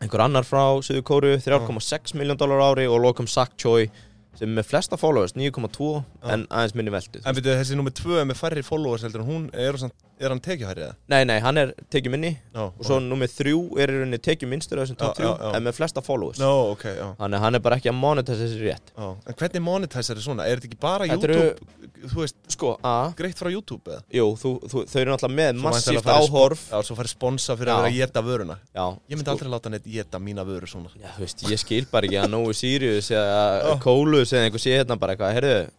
[SPEAKER 2] einhver annar frá Suður Kóru 3,6 miljón dólar ári og lokum Sak Choi sem er með flesta followers 9,2 en aðeins minni veldu
[SPEAKER 1] En veitu, þessi nummer tvö er með færri followers heldur en hún, er, hún samt- er hann tekjuhærið eða?
[SPEAKER 2] Nei, nei, hann er tekið minni
[SPEAKER 1] No,
[SPEAKER 2] og svo nummið þrjú er í rauninni tekið minnstur af þessum top
[SPEAKER 1] Já,
[SPEAKER 2] 3
[SPEAKER 1] já, já.
[SPEAKER 2] en með flesta followers
[SPEAKER 1] No, ok, já
[SPEAKER 2] Þannig að hann er bara ekki að monetisa þessi rétt
[SPEAKER 1] Já, en hvernig monetizar er svona? Er þetta ekki bara
[SPEAKER 2] Þetta
[SPEAKER 1] YouTube,
[SPEAKER 2] eru-
[SPEAKER 1] þú veist,
[SPEAKER 2] Sko, a,
[SPEAKER 1] greitt frá YouTube eða?
[SPEAKER 2] jú, þú, þú, þau eru náttúrulega með
[SPEAKER 1] Svo væntanlega færi
[SPEAKER 2] massíft
[SPEAKER 1] sp-
[SPEAKER 2] áhorf
[SPEAKER 1] Já, svo færi sponsa fyrir
[SPEAKER 2] Já.
[SPEAKER 1] að vera að geta vöruna
[SPEAKER 2] Já,
[SPEAKER 1] Ég myndi
[SPEAKER 2] sko-
[SPEAKER 1] aldrei láta neitt geta mína vöru svona
[SPEAKER 2] Já, þú veist, ég skil bara ekki að Nói Sirius eða
[SPEAKER 1] Já.
[SPEAKER 2] Kólus eða einhver sé hérna bara eitthvað, herðu,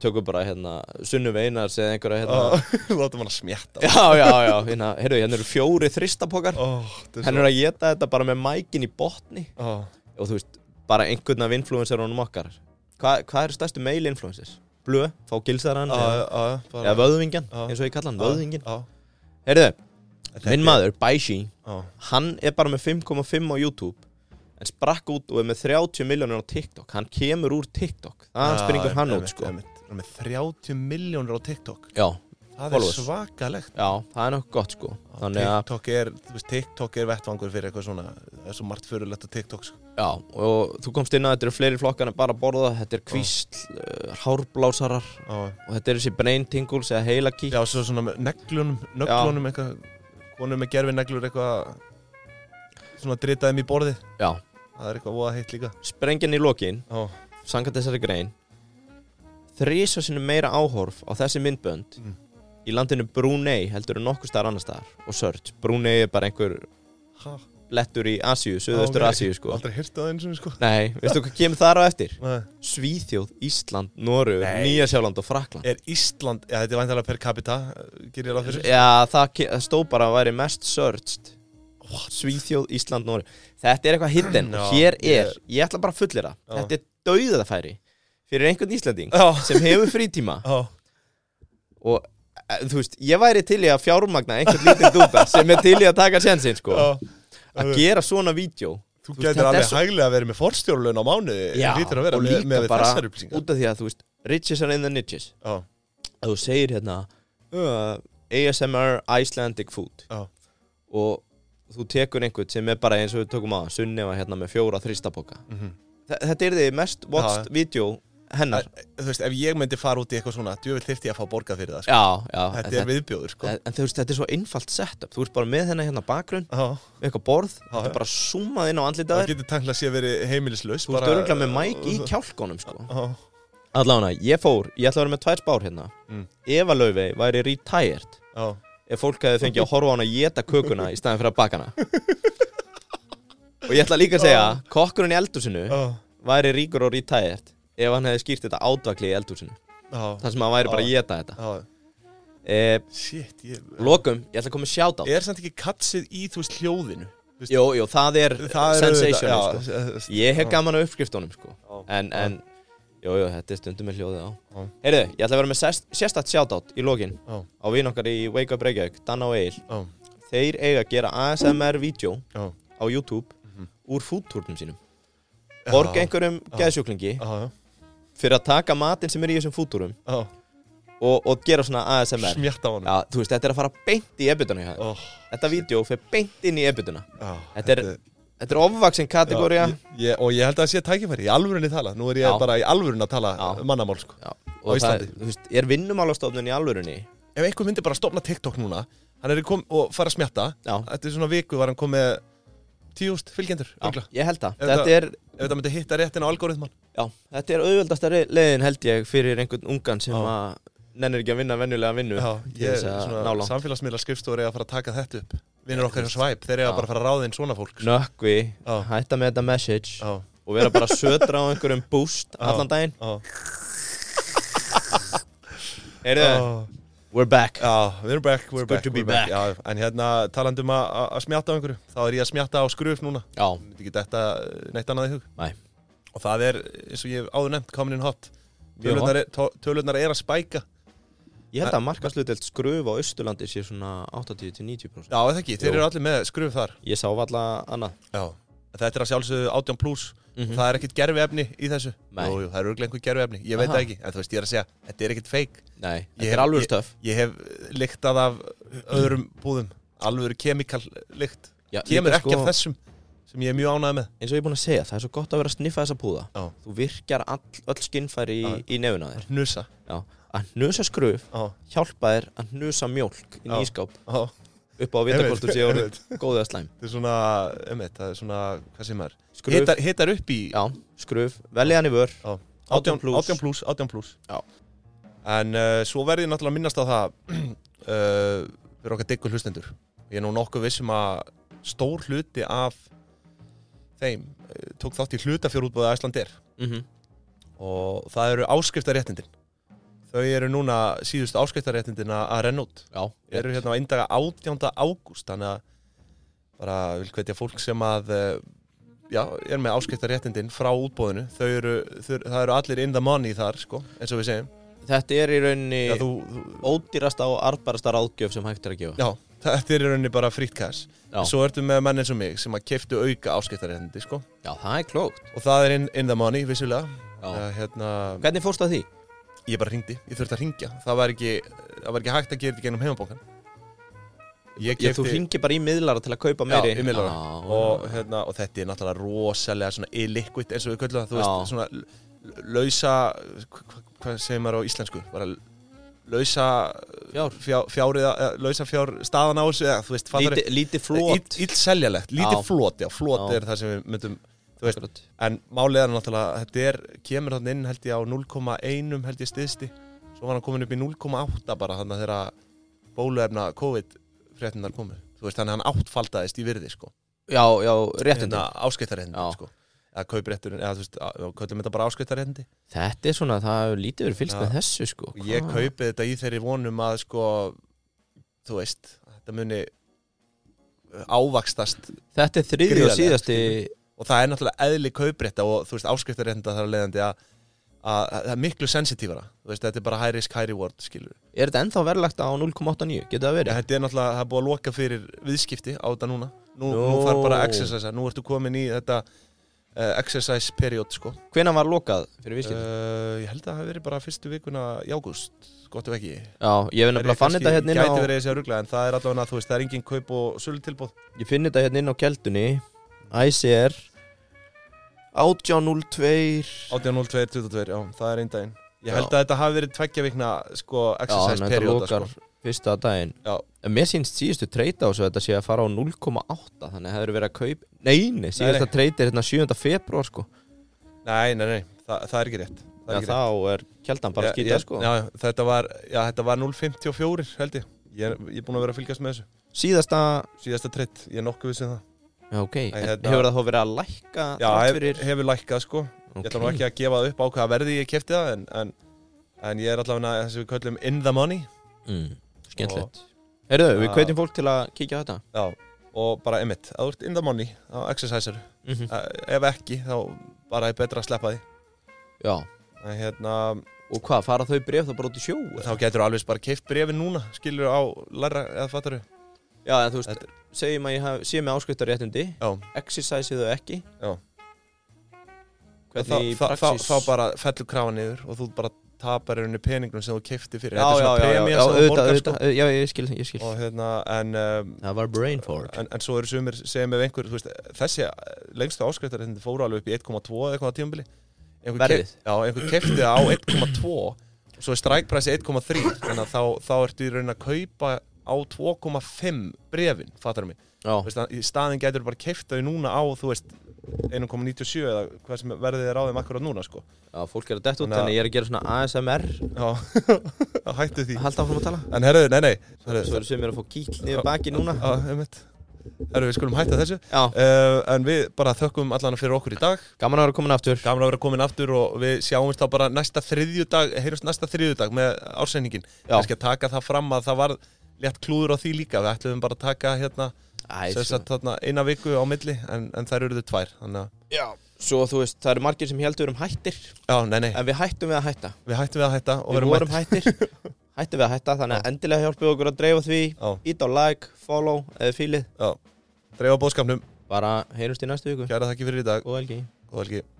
[SPEAKER 2] tökum bara hérna Sunnu Veinars eða einhverja hérna
[SPEAKER 1] Ah. [LAUGHS] Látum hann að smjætta
[SPEAKER 2] [LAUGHS] Já, já, já, hérna, heyrðu, hérna eru fjóri þristapokar
[SPEAKER 1] Henn
[SPEAKER 2] Henn eru að geta þetta bara með mækin í botni Og þú veist, bara einhvern af influencerunum okkar Hva, Hvað eru stærstu mail influencers? Blö, þá gilsar hann Eða eða
[SPEAKER 1] Eða
[SPEAKER 2] vöðvingjan,
[SPEAKER 1] Ah, Já.
[SPEAKER 2] eins og ég kalla hann, vöðvingjan Heyrðu, minn maður, Baishi Hann er bara með 5,5 á YouTube En sprakk út og er með 30 miljónir á TikTok Hann kemur úr TikTok
[SPEAKER 1] Ah,
[SPEAKER 2] Það springur hann út, sko
[SPEAKER 1] Það er með 30 miljónir á TikTok
[SPEAKER 2] Já,
[SPEAKER 1] Það er
[SPEAKER 2] Followers.
[SPEAKER 1] svakalegt
[SPEAKER 2] já, það er nokkuð gott, sko Þannig að
[SPEAKER 1] TikTok er, þú veist, TikTok er vettvangur fyrir eitthvað svona Það er svo margt fyrirlegt á TikTok sko.
[SPEAKER 2] Já, og þú komst inn að þetta eru fleiri flokkar en bara að borða, þetta er kvísl, uh, hárblásarar
[SPEAKER 1] Já.
[SPEAKER 2] og þetta eru þessi brain tingles eða heilakík.
[SPEAKER 1] Já, svo svona með neglunum, nöglunum eitthvað, konum með gerfi neglur eitthvað, svona dritaðum í borðið,
[SPEAKER 2] Já,
[SPEAKER 1] það er eitthvað voða heitt líka.
[SPEAKER 2] sprengjan í lokin,
[SPEAKER 1] Já,
[SPEAKER 2] sangat þessari grein, þrísa sinni meira áhorf á þessi myndbönd
[SPEAKER 1] Mm.
[SPEAKER 2] í landinu Brunei heldur en nokkuð staðar annar staðar og sörd. Brunei er bara einhver
[SPEAKER 1] ha,
[SPEAKER 2] blettur í Asíu, söðustur
[SPEAKER 1] ok.
[SPEAKER 2] Asíu sko.
[SPEAKER 1] aldrei hýrta það eins og sko.
[SPEAKER 2] Nei, veistu hvað kemur þar á eftir?
[SPEAKER 1] Nei.
[SPEAKER 2] Svíþjóð, Ísland, Norugur,
[SPEAKER 1] Nei.
[SPEAKER 2] Nýjasjáland og Frakland.
[SPEAKER 1] Er Ísland, já þetta er vantilega per capita, uh, gerir ég ráð fyrir.
[SPEAKER 2] Já, það ke- það stóð bara að væri mest searched Svíþjóð, Ísland, Nóri Þetta er eitthvað hidden og
[SPEAKER 1] Já,
[SPEAKER 2] hér er
[SPEAKER 1] ég-
[SPEAKER 2] Ég ætla bara að fullera
[SPEAKER 1] Já.
[SPEAKER 2] Þetta er dauðafæri fyrir einhvern Íslanding
[SPEAKER 1] Já,
[SPEAKER 2] sem hefur frítíma
[SPEAKER 1] já,
[SPEAKER 2] og eh, þú veist, ég væri til í að fjármagna einhvern lítið dúta sem er til í að taka sjensin sko
[SPEAKER 1] já.
[SPEAKER 2] að gera svona vídeo
[SPEAKER 1] Þú
[SPEAKER 2] veist,
[SPEAKER 1] getur
[SPEAKER 2] þetta er
[SPEAKER 1] alveg
[SPEAKER 2] svo-
[SPEAKER 1] hæglega að vera með forstjórlun á mánuði,
[SPEAKER 2] Já,
[SPEAKER 1] þú lítur að vera
[SPEAKER 2] og
[SPEAKER 1] með,
[SPEAKER 2] líka
[SPEAKER 1] með
[SPEAKER 2] bara
[SPEAKER 1] þessar upplýsingar.
[SPEAKER 2] út af því að þú veist, riches are in the niches
[SPEAKER 1] Já,
[SPEAKER 2] að þú segir hérna uh, ASMR Icelandic Food
[SPEAKER 1] já,
[SPEAKER 2] og þú tekur einhvern sem er bara eins og við tökum að Sunnefa hérna með fjóra þristaboka
[SPEAKER 1] mhm.
[SPEAKER 2] Þa- Þetta er því mest watched
[SPEAKER 1] Já.
[SPEAKER 2] ja. video hennar
[SPEAKER 1] Þú veist, ef ég myndi fara út í eitthvað svona, djövel þyrfti ég að fá borgað fyrir það, sko.
[SPEAKER 2] Já, já en
[SPEAKER 1] Þetta er viðbjóður, sko.
[SPEAKER 2] en, en þú veist, þetta er svo einfalt setup Þú ert bara með hennar hérna bakgrunn
[SPEAKER 1] Já,
[SPEAKER 2] með eitthvað borð,
[SPEAKER 1] Já, já.
[SPEAKER 2] þetta er bara zoomað inn á
[SPEAKER 1] það
[SPEAKER 2] andlitaður
[SPEAKER 1] getur tangla sér verið heimilislaus.
[SPEAKER 2] Þú ert
[SPEAKER 1] bara-
[SPEAKER 2] örgulega með mæk
[SPEAKER 1] [LAUGHS]
[SPEAKER 2] í kjálkonum sko.
[SPEAKER 1] Já.
[SPEAKER 2] Allána, ég fór, ég ætla að vera með tvær spár hérna
[SPEAKER 1] Mm.
[SPEAKER 2] Eva Laufey væri retired
[SPEAKER 1] Já,
[SPEAKER 2] ef fólk hefði fengið að horfa á hana að geta kökuna í staðin fyrir að baka hana Og ég ætla líka að segja kokkurinn í eldhúsinu
[SPEAKER 1] já,
[SPEAKER 2] væri ríkur og retired ef hann hefði skýrt þetta átvakli í eldhúsinu
[SPEAKER 1] já,
[SPEAKER 2] þar sem hann væri bara að geta þetta
[SPEAKER 1] já,
[SPEAKER 2] e,
[SPEAKER 1] shit, ég,
[SPEAKER 2] Lokum, ég ætla að koma með sjátt á
[SPEAKER 1] er samt ekki katsið í þú veist hljóðinu?
[SPEAKER 2] Jó, jú, það er,
[SPEAKER 1] Það er
[SPEAKER 2] sensational
[SPEAKER 1] auðvitað,
[SPEAKER 2] sko.
[SPEAKER 1] já, s- s-
[SPEAKER 2] Ég hef gaman á uppskriftunum sko.
[SPEAKER 1] Já.
[SPEAKER 2] En, en jú, jú, þetta er stundum með hljóðið á
[SPEAKER 1] Já.
[SPEAKER 2] Heyrðu, ég ætla að vera með sest, sérstætt sjátt í lokin
[SPEAKER 1] Já,
[SPEAKER 2] á vinn okkar í Wake Up Reykjavík, Dan og Egil
[SPEAKER 1] já,
[SPEAKER 2] Þeir eiga að gera ASMR-vídeó
[SPEAKER 1] já,
[SPEAKER 2] á YouTube úr fúttúrnum sínum Borg einhverjum geðsjúklingi
[SPEAKER 1] Mhm. já, já,
[SPEAKER 2] fyrir að taka matinn sem er í þessum fúttúrum
[SPEAKER 1] já,
[SPEAKER 2] og, og gera svona ASMR
[SPEAKER 1] smjart á honum.
[SPEAKER 2] Já, þú veist, þetta er að fara beint í ebituna hjá
[SPEAKER 1] Ó,
[SPEAKER 2] þeim. Þetta vídeo fer beint inn í ebituna
[SPEAKER 1] já,
[SPEAKER 2] Þetta er, þetta er ofvaksinn kategória
[SPEAKER 1] Já, ég- ég- Og ég held að það sé tækifæri, í alvörunni tala, nú er ég
[SPEAKER 2] Já.
[SPEAKER 1] bara í alvörunni að tala
[SPEAKER 2] Já.
[SPEAKER 1] mannamál, sko.
[SPEAKER 2] Já,
[SPEAKER 1] Á
[SPEAKER 2] og það,
[SPEAKER 1] Íslandi.
[SPEAKER 2] þú veist, er vinnumálastofnun í alvörunni
[SPEAKER 1] Ef einhver myndi bara stopna TikTok núna, hann er kom og fara að smjatta,
[SPEAKER 2] Já,
[SPEAKER 1] eftir svona viku var hann komið tíúst fylgjendur
[SPEAKER 2] Já,
[SPEAKER 1] örugglega.
[SPEAKER 2] ég held það.
[SPEAKER 1] Ef
[SPEAKER 2] Þetta er,
[SPEAKER 1] Ef þetta myndi hitta réttin á algoritman
[SPEAKER 2] já, þetta er auðvöldasta leiðin held ég fyrir einhvern ungan sem
[SPEAKER 1] Já.
[SPEAKER 2] að nennir ekki að vinna venjulega vinnu.
[SPEAKER 1] Já,
[SPEAKER 2] til
[SPEAKER 1] ég,
[SPEAKER 2] þess að ná
[SPEAKER 1] svona,
[SPEAKER 2] langt.
[SPEAKER 1] samfélagsmiðla skrifstóri að fara að taka þetta upp Vinnur okkar hjá svæp, þeir eru
[SPEAKER 2] Já.
[SPEAKER 1] bara að fara að ráða inn svona fólk sko.
[SPEAKER 2] Nökkvi,
[SPEAKER 1] Já.
[SPEAKER 2] hætta með þetta message
[SPEAKER 1] Já,
[SPEAKER 2] og vera bara að södra á einhverjum boost
[SPEAKER 1] Já.
[SPEAKER 2] allan daginn.
[SPEAKER 1] já
[SPEAKER 2] Heyrðu,
[SPEAKER 1] Já.
[SPEAKER 2] we're back.
[SPEAKER 1] Já, we're back, we're
[SPEAKER 2] It's good
[SPEAKER 1] back,
[SPEAKER 2] to be
[SPEAKER 1] we're back. Já, En hérna talandum að- að að smjatta á einhverju Þá er ég að smjatta á skruf núna
[SPEAKER 2] Já,
[SPEAKER 1] Ég myndi ekki þetta neitt annað í hug
[SPEAKER 2] Nei.
[SPEAKER 1] Og það er, eins og ég hef áður nefnt, komin inn hot
[SPEAKER 2] Mjög hot.
[SPEAKER 1] Tölurnar er, tó- tölurnar er að spæka
[SPEAKER 2] ég held að markaslutelt skröf á Östurlandi sé svona 80-90%.
[SPEAKER 1] Já, er það ekki, þeir
[SPEAKER 2] Jú.
[SPEAKER 1] eru allir með skruf þar
[SPEAKER 2] Ég sá valla annað.
[SPEAKER 1] Já Þetta er að sjálfsögðu 18 pluss
[SPEAKER 2] Mhm.
[SPEAKER 1] Það er ekkit gerfi efni í þessu
[SPEAKER 2] Nei.
[SPEAKER 1] jú, jú, það er örglega einhver gerfi efni Ég veit
[SPEAKER 2] Aha.
[SPEAKER 1] það ekki, en þú veist, ég er að segja Þetta er ekkit fake
[SPEAKER 2] Nei,
[SPEAKER 1] Ég-
[SPEAKER 2] þetta er alveg
[SPEAKER 1] ég-
[SPEAKER 2] stöf.
[SPEAKER 1] Ég hef eh, lyktað af öðrum búðum Alvöru kemikal lykt
[SPEAKER 2] Já,
[SPEAKER 1] Kemur
[SPEAKER 2] líka sko-
[SPEAKER 1] ekki af þessum sem ég er mjög ánægð með
[SPEAKER 2] eins og ég er búin að segja, það er svo gott að vera að sniffa þessa púða
[SPEAKER 1] Já.
[SPEAKER 2] þú virkjar all, öll skinnfæri í, í nefuna þér
[SPEAKER 1] Hnusa
[SPEAKER 2] Já. að hnusa skröf
[SPEAKER 1] Já,
[SPEAKER 2] hjálpa þér að hnusa mjólk í
[SPEAKER 1] Já.
[SPEAKER 2] nýskáp
[SPEAKER 1] já
[SPEAKER 2] upp á að vita hvort þú sé orðið
[SPEAKER 1] einmitt.
[SPEAKER 2] góðið að slæm
[SPEAKER 1] Þetta er svona, einmitt, það er svona, hvað sem er
[SPEAKER 2] skröf,
[SPEAKER 1] Hittar, hittar upp í
[SPEAKER 2] já, skröf, velja hann í vör
[SPEAKER 1] Já.
[SPEAKER 2] 18
[SPEAKER 1] 18
[SPEAKER 2] plús.
[SPEAKER 1] pluss 18 pluss, 18 pluss
[SPEAKER 2] Já.
[SPEAKER 1] En uh, svo verði ég náttúrulega að minnast á það [CLEARS THROAT] uh, fyrir okkar diggur hlustendur Ég er nú nokkuð vissum að stór hluti af þeim uh, tók þátt í hlutafjörútbúða Æslandir
[SPEAKER 2] mm
[SPEAKER 1] og það eru áskriftaréttindin Þau eru núna síðustu áskriftaréttindin að að renna út
[SPEAKER 2] já,
[SPEAKER 1] eru hérna á eindaga 18. ágúst þannig að bara vil hvetja fólk sem að eh, já, er með áskiptaréttindin frá útbóðinu þau eru, þau, það eru allir in the money þar sko, eins og við segjum
[SPEAKER 2] þetta er í rauninni
[SPEAKER 1] já, þú, þú,
[SPEAKER 2] ódýrasta og arðbarasta ráðgjöf sem hægt er að gefa
[SPEAKER 1] já, þetta er í rauninni bara frýtt kass
[SPEAKER 2] Já.
[SPEAKER 1] svo ertu með menn eins og mig sem að keftu auka áskiptaréttindi sko.
[SPEAKER 2] já, það er klókt
[SPEAKER 1] og það er in, in the money vissulega
[SPEAKER 2] Já.
[SPEAKER 1] Eh, hérna,
[SPEAKER 2] hvernig fórst að því?
[SPEAKER 1] ég bara ringdi, ég þurfti að ringja það var ekki, það var ekki hægt að gera þetta gennum heimabókan ég
[SPEAKER 2] Ég, þú hringir bara í miðlara til að kaupa
[SPEAKER 1] Já,
[SPEAKER 2] meiri
[SPEAKER 1] í miðlara.
[SPEAKER 2] Já,
[SPEAKER 1] og, hérna, og þetta er náttúrulega rosalega svona illiquid eins og við köllum það, þú
[SPEAKER 2] Já.
[SPEAKER 1] veist, svona l- lausa, hva- hva- hvað segir maður á íslensku, bara l- lausa
[SPEAKER 2] Fjár.
[SPEAKER 1] fjár, fjár eða, eða lausa fjár staðan á þessu, eða þú veist, fattar
[SPEAKER 2] lítið líti flót
[SPEAKER 1] illseljalegt,
[SPEAKER 2] Já.
[SPEAKER 1] lítið flót, já, flót
[SPEAKER 2] Já.
[SPEAKER 1] er það sem við myndum, þú veist,
[SPEAKER 2] Akkurat.
[SPEAKER 1] en málið er náttúrulega, þetta er, kemur þarna inn held ég á 0,1 held ég stiðsti, svo var hann komin upp í 0,8 bara þannig að þeirra bóluefna COVID fréttinar komu, þú veist, þannig að hann áttfaldaðist í virði, sko
[SPEAKER 2] já, já, réttindi
[SPEAKER 1] hérna, áskiptaréttindi
[SPEAKER 2] Já.
[SPEAKER 1] sko. eða kauprétturinn, eða þú veist að- við köllum þetta bara áskiptaréttindi
[SPEAKER 2] Þetta er svona, það hefur lítið verið fylgst
[SPEAKER 1] Já.
[SPEAKER 2] með þessu sko
[SPEAKER 1] og ég
[SPEAKER 2] Hvað?
[SPEAKER 1] kaupi þetta í þeirri vonum að sko, þú veist þetta muni uh, ávakstast
[SPEAKER 2] Þetta er þriði og
[SPEAKER 1] Gríðarlega,
[SPEAKER 2] síðasti
[SPEAKER 1] og það er náttúrulega eðli kauprétta og þú veist áskiptaréttinda þar að leiðandi að að að það er miklu sensitífara þú veist, þetta er bara high risk, high reward skilur
[SPEAKER 2] Er þetta ennþá verðlagt á 0,89? Getur það verið?
[SPEAKER 1] þetta er náttúrulega, það er búið að loka fyrir viðskipti á þetta núna nú,
[SPEAKER 2] Nú.
[SPEAKER 1] nú þarf bara að exercise, nú ertu komin í þetta uh, exercise period sko
[SPEAKER 2] Hvenær var lokað fyrir vískipti?
[SPEAKER 1] Uh, ég held að það hafi verið bara fyrstu vikuna í ágúst, gott ef ekki
[SPEAKER 2] Já, ég finn nefnilega fann þetta hérna inn á
[SPEAKER 1] Gæti verið þessi að rugla, en það er allavega, þú veist, það er engin kaup og sölu tilbúð
[SPEAKER 2] Ég finn þetta hérna inn á keldunni ICR 1802
[SPEAKER 1] 18.02, 22, já, það er einn daginn
[SPEAKER 2] Já.
[SPEAKER 1] Ég held að þetta hafi verið tveggja vikna, sko,
[SPEAKER 2] Já, þannig
[SPEAKER 1] exercise
[SPEAKER 2] að þetta
[SPEAKER 1] period
[SPEAKER 2] lokar
[SPEAKER 1] sko.
[SPEAKER 2] fyrsta daginn
[SPEAKER 1] Já.
[SPEAKER 2] En mér sínst síðustu treyta á svo þetta sé að fara á 0,8 Þannig að það hefur verið að kaup Nei, nei, síðasta
[SPEAKER 1] nei.
[SPEAKER 2] treyta er hérna 7. februar sko
[SPEAKER 1] Nei, nei, nei, það, það er ekki rétt Það
[SPEAKER 2] Já,
[SPEAKER 1] er ekki rétt.
[SPEAKER 2] þá er keldan bara
[SPEAKER 1] Ég-
[SPEAKER 2] að skýta
[SPEAKER 1] ég-
[SPEAKER 2] sko
[SPEAKER 1] Já, já, þetta var, já, þetta var 0.54, held ég Ég er, ég er búin að vera að fylgjast með þessu
[SPEAKER 2] Síðasta
[SPEAKER 1] Síðasta tritt, ég er nokkuð vissið það
[SPEAKER 2] Já, ok, en
[SPEAKER 1] hérna-
[SPEAKER 2] hefur það þá verið að lækka
[SPEAKER 1] Já,
[SPEAKER 2] þrátt
[SPEAKER 1] hef,
[SPEAKER 2] fyrir...
[SPEAKER 1] hefur lækkað, sko Ég ætla nú
[SPEAKER 2] Ok.
[SPEAKER 1] ekki að gefa upp á hvaða verði ég kefti það en, en, en ég er allavega þess að við köllum in the money
[SPEAKER 2] mm, Skemmtilegt Heyrðu, við
[SPEAKER 1] Já.
[SPEAKER 2] kveitjum fólk til að kíkja á þetta
[SPEAKER 1] Já, og bara emitt, að þú ert in the money á exerciser,
[SPEAKER 2] -hmm.
[SPEAKER 1] uh, ef ekki þá bara er betra að sleppa því
[SPEAKER 2] Já,
[SPEAKER 1] en hérna,
[SPEAKER 2] og hvað, fara þau bref þá bara út í sjó?
[SPEAKER 1] þá getur þú alveg bara keift brefin núna, skilur á læra eða fattar þú,
[SPEAKER 2] Já, en þú veist,
[SPEAKER 1] Þetta-
[SPEAKER 2] segjum að ég haf, sé með áskriftaréttindi
[SPEAKER 1] já,
[SPEAKER 2] Exercise þau ekki
[SPEAKER 1] já þá,
[SPEAKER 2] Hvernig í
[SPEAKER 1] þá, þá,
[SPEAKER 2] praxis
[SPEAKER 1] þá bara fellur krafan niður og þú bara tapar henni peningnum sem þú keifti fyrir
[SPEAKER 2] Já,
[SPEAKER 1] Þetta er
[SPEAKER 2] já,
[SPEAKER 1] svona
[SPEAKER 2] já, já,
[SPEAKER 1] premia
[SPEAKER 2] já,
[SPEAKER 1] sem þú
[SPEAKER 2] auðvitað,
[SPEAKER 1] borgar, sko.
[SPEAKER 2] auðvitað Já, ég skil, ég skil
[SPEAKER 1] og hérna, en, um,
[SPEAKER 2] Það var brain fart
[SPEAKER 1] en en svo eru sumir sem ef einhver, þú veist, þessi eh, lengstu áskriftar hérna fóru alveg upp í 1,2 eða eitthvað á tímabili Einhver
[SPEAKER 2] Verðið?
[SPEAKER 1] keypt- Já, einhver kefti það á 1,2 og svo er strækpressi 1,3 þannig að þá, þá ertu í raun að kaupa á 2,5 brefin, fattar mig
[SPEAKER 2] Já,
[SPEAKER 1] Þú veist, að- í staðin getur bara keifta þau núna á þú veist 1,97 eða hvað sem verðið er á þeim akkurat núna sko
[SPEAKER 2] já, fólk er að detta út
[SPEAKER 1] Þannig að-
[SPEAKER 2] Þannig að ég er að gera svona ASMR
[SPEAKER 1] [LAUGHS] Já, hættu því
[SPEAKER 2] Halda áfram að tala
[SPEAKER 1] En herðu, nei, nei
[SPEAKER 2] Svo
[SPEAKER 1] herðu,
[SPEAKER 2] eru sem er að fá kýll niður baki núna
[SPEAKER 1] Já, einmitt Herðu, við skulum hætta þessu
[SPEAKER 2] Já,
[SPEAKER 1] uh, En við bara þökkum allan fyrir okkur í dag
[SPEAKER 2] gaman að vera komin aftur
[SPEAKER 1] Gaman að vera komin aftur og við sjáumst þá bara næsta þriðjudag Heyrjumst næsta þriðjudag með ársendingin
[SPEAKER 2] Já.
[SPEAKER 1] Kannski að taka það fram að það var létt klúður á því líka Við ætlum bara að taka hérna
[SPEAKER 2] Æ,
[SPEAKER 1] sem sagt, þarna, eina viku á milli En, en þær eruðu tvær Þannig að,
[SPEAKER 2] Já, svo þú veist, það eru margir sem heldur um hættir
[SPEAKER 1] já, nei, nei
[SPEAKER 2] En við hættum við að hætta
[SPEAKER 1] Við hættum við að hætta og
[SPEAKER 2] Við
[SPEAKER 1] verum
[SPEAKER 2] vorum hættir
[SPEAKER 1] [LAUGHS]
[SPEAKER 2] Hættum við að hætta, þannig að endilega hjálpið okkur að dreifa því
[SPEAKER 1] Já,
[SPEAKER 2] Ít á like, follow, eða fílið
[SPEAKER 1] já Dreifa bóðskapnum
[SPEAKER 2] Bara heyrumst í næstu viku
[SPEAKER 1] Kæra þakki fyrir í dag
[SPEAKER 2] Góð helgi
[SPEAKER 1] Góða helgi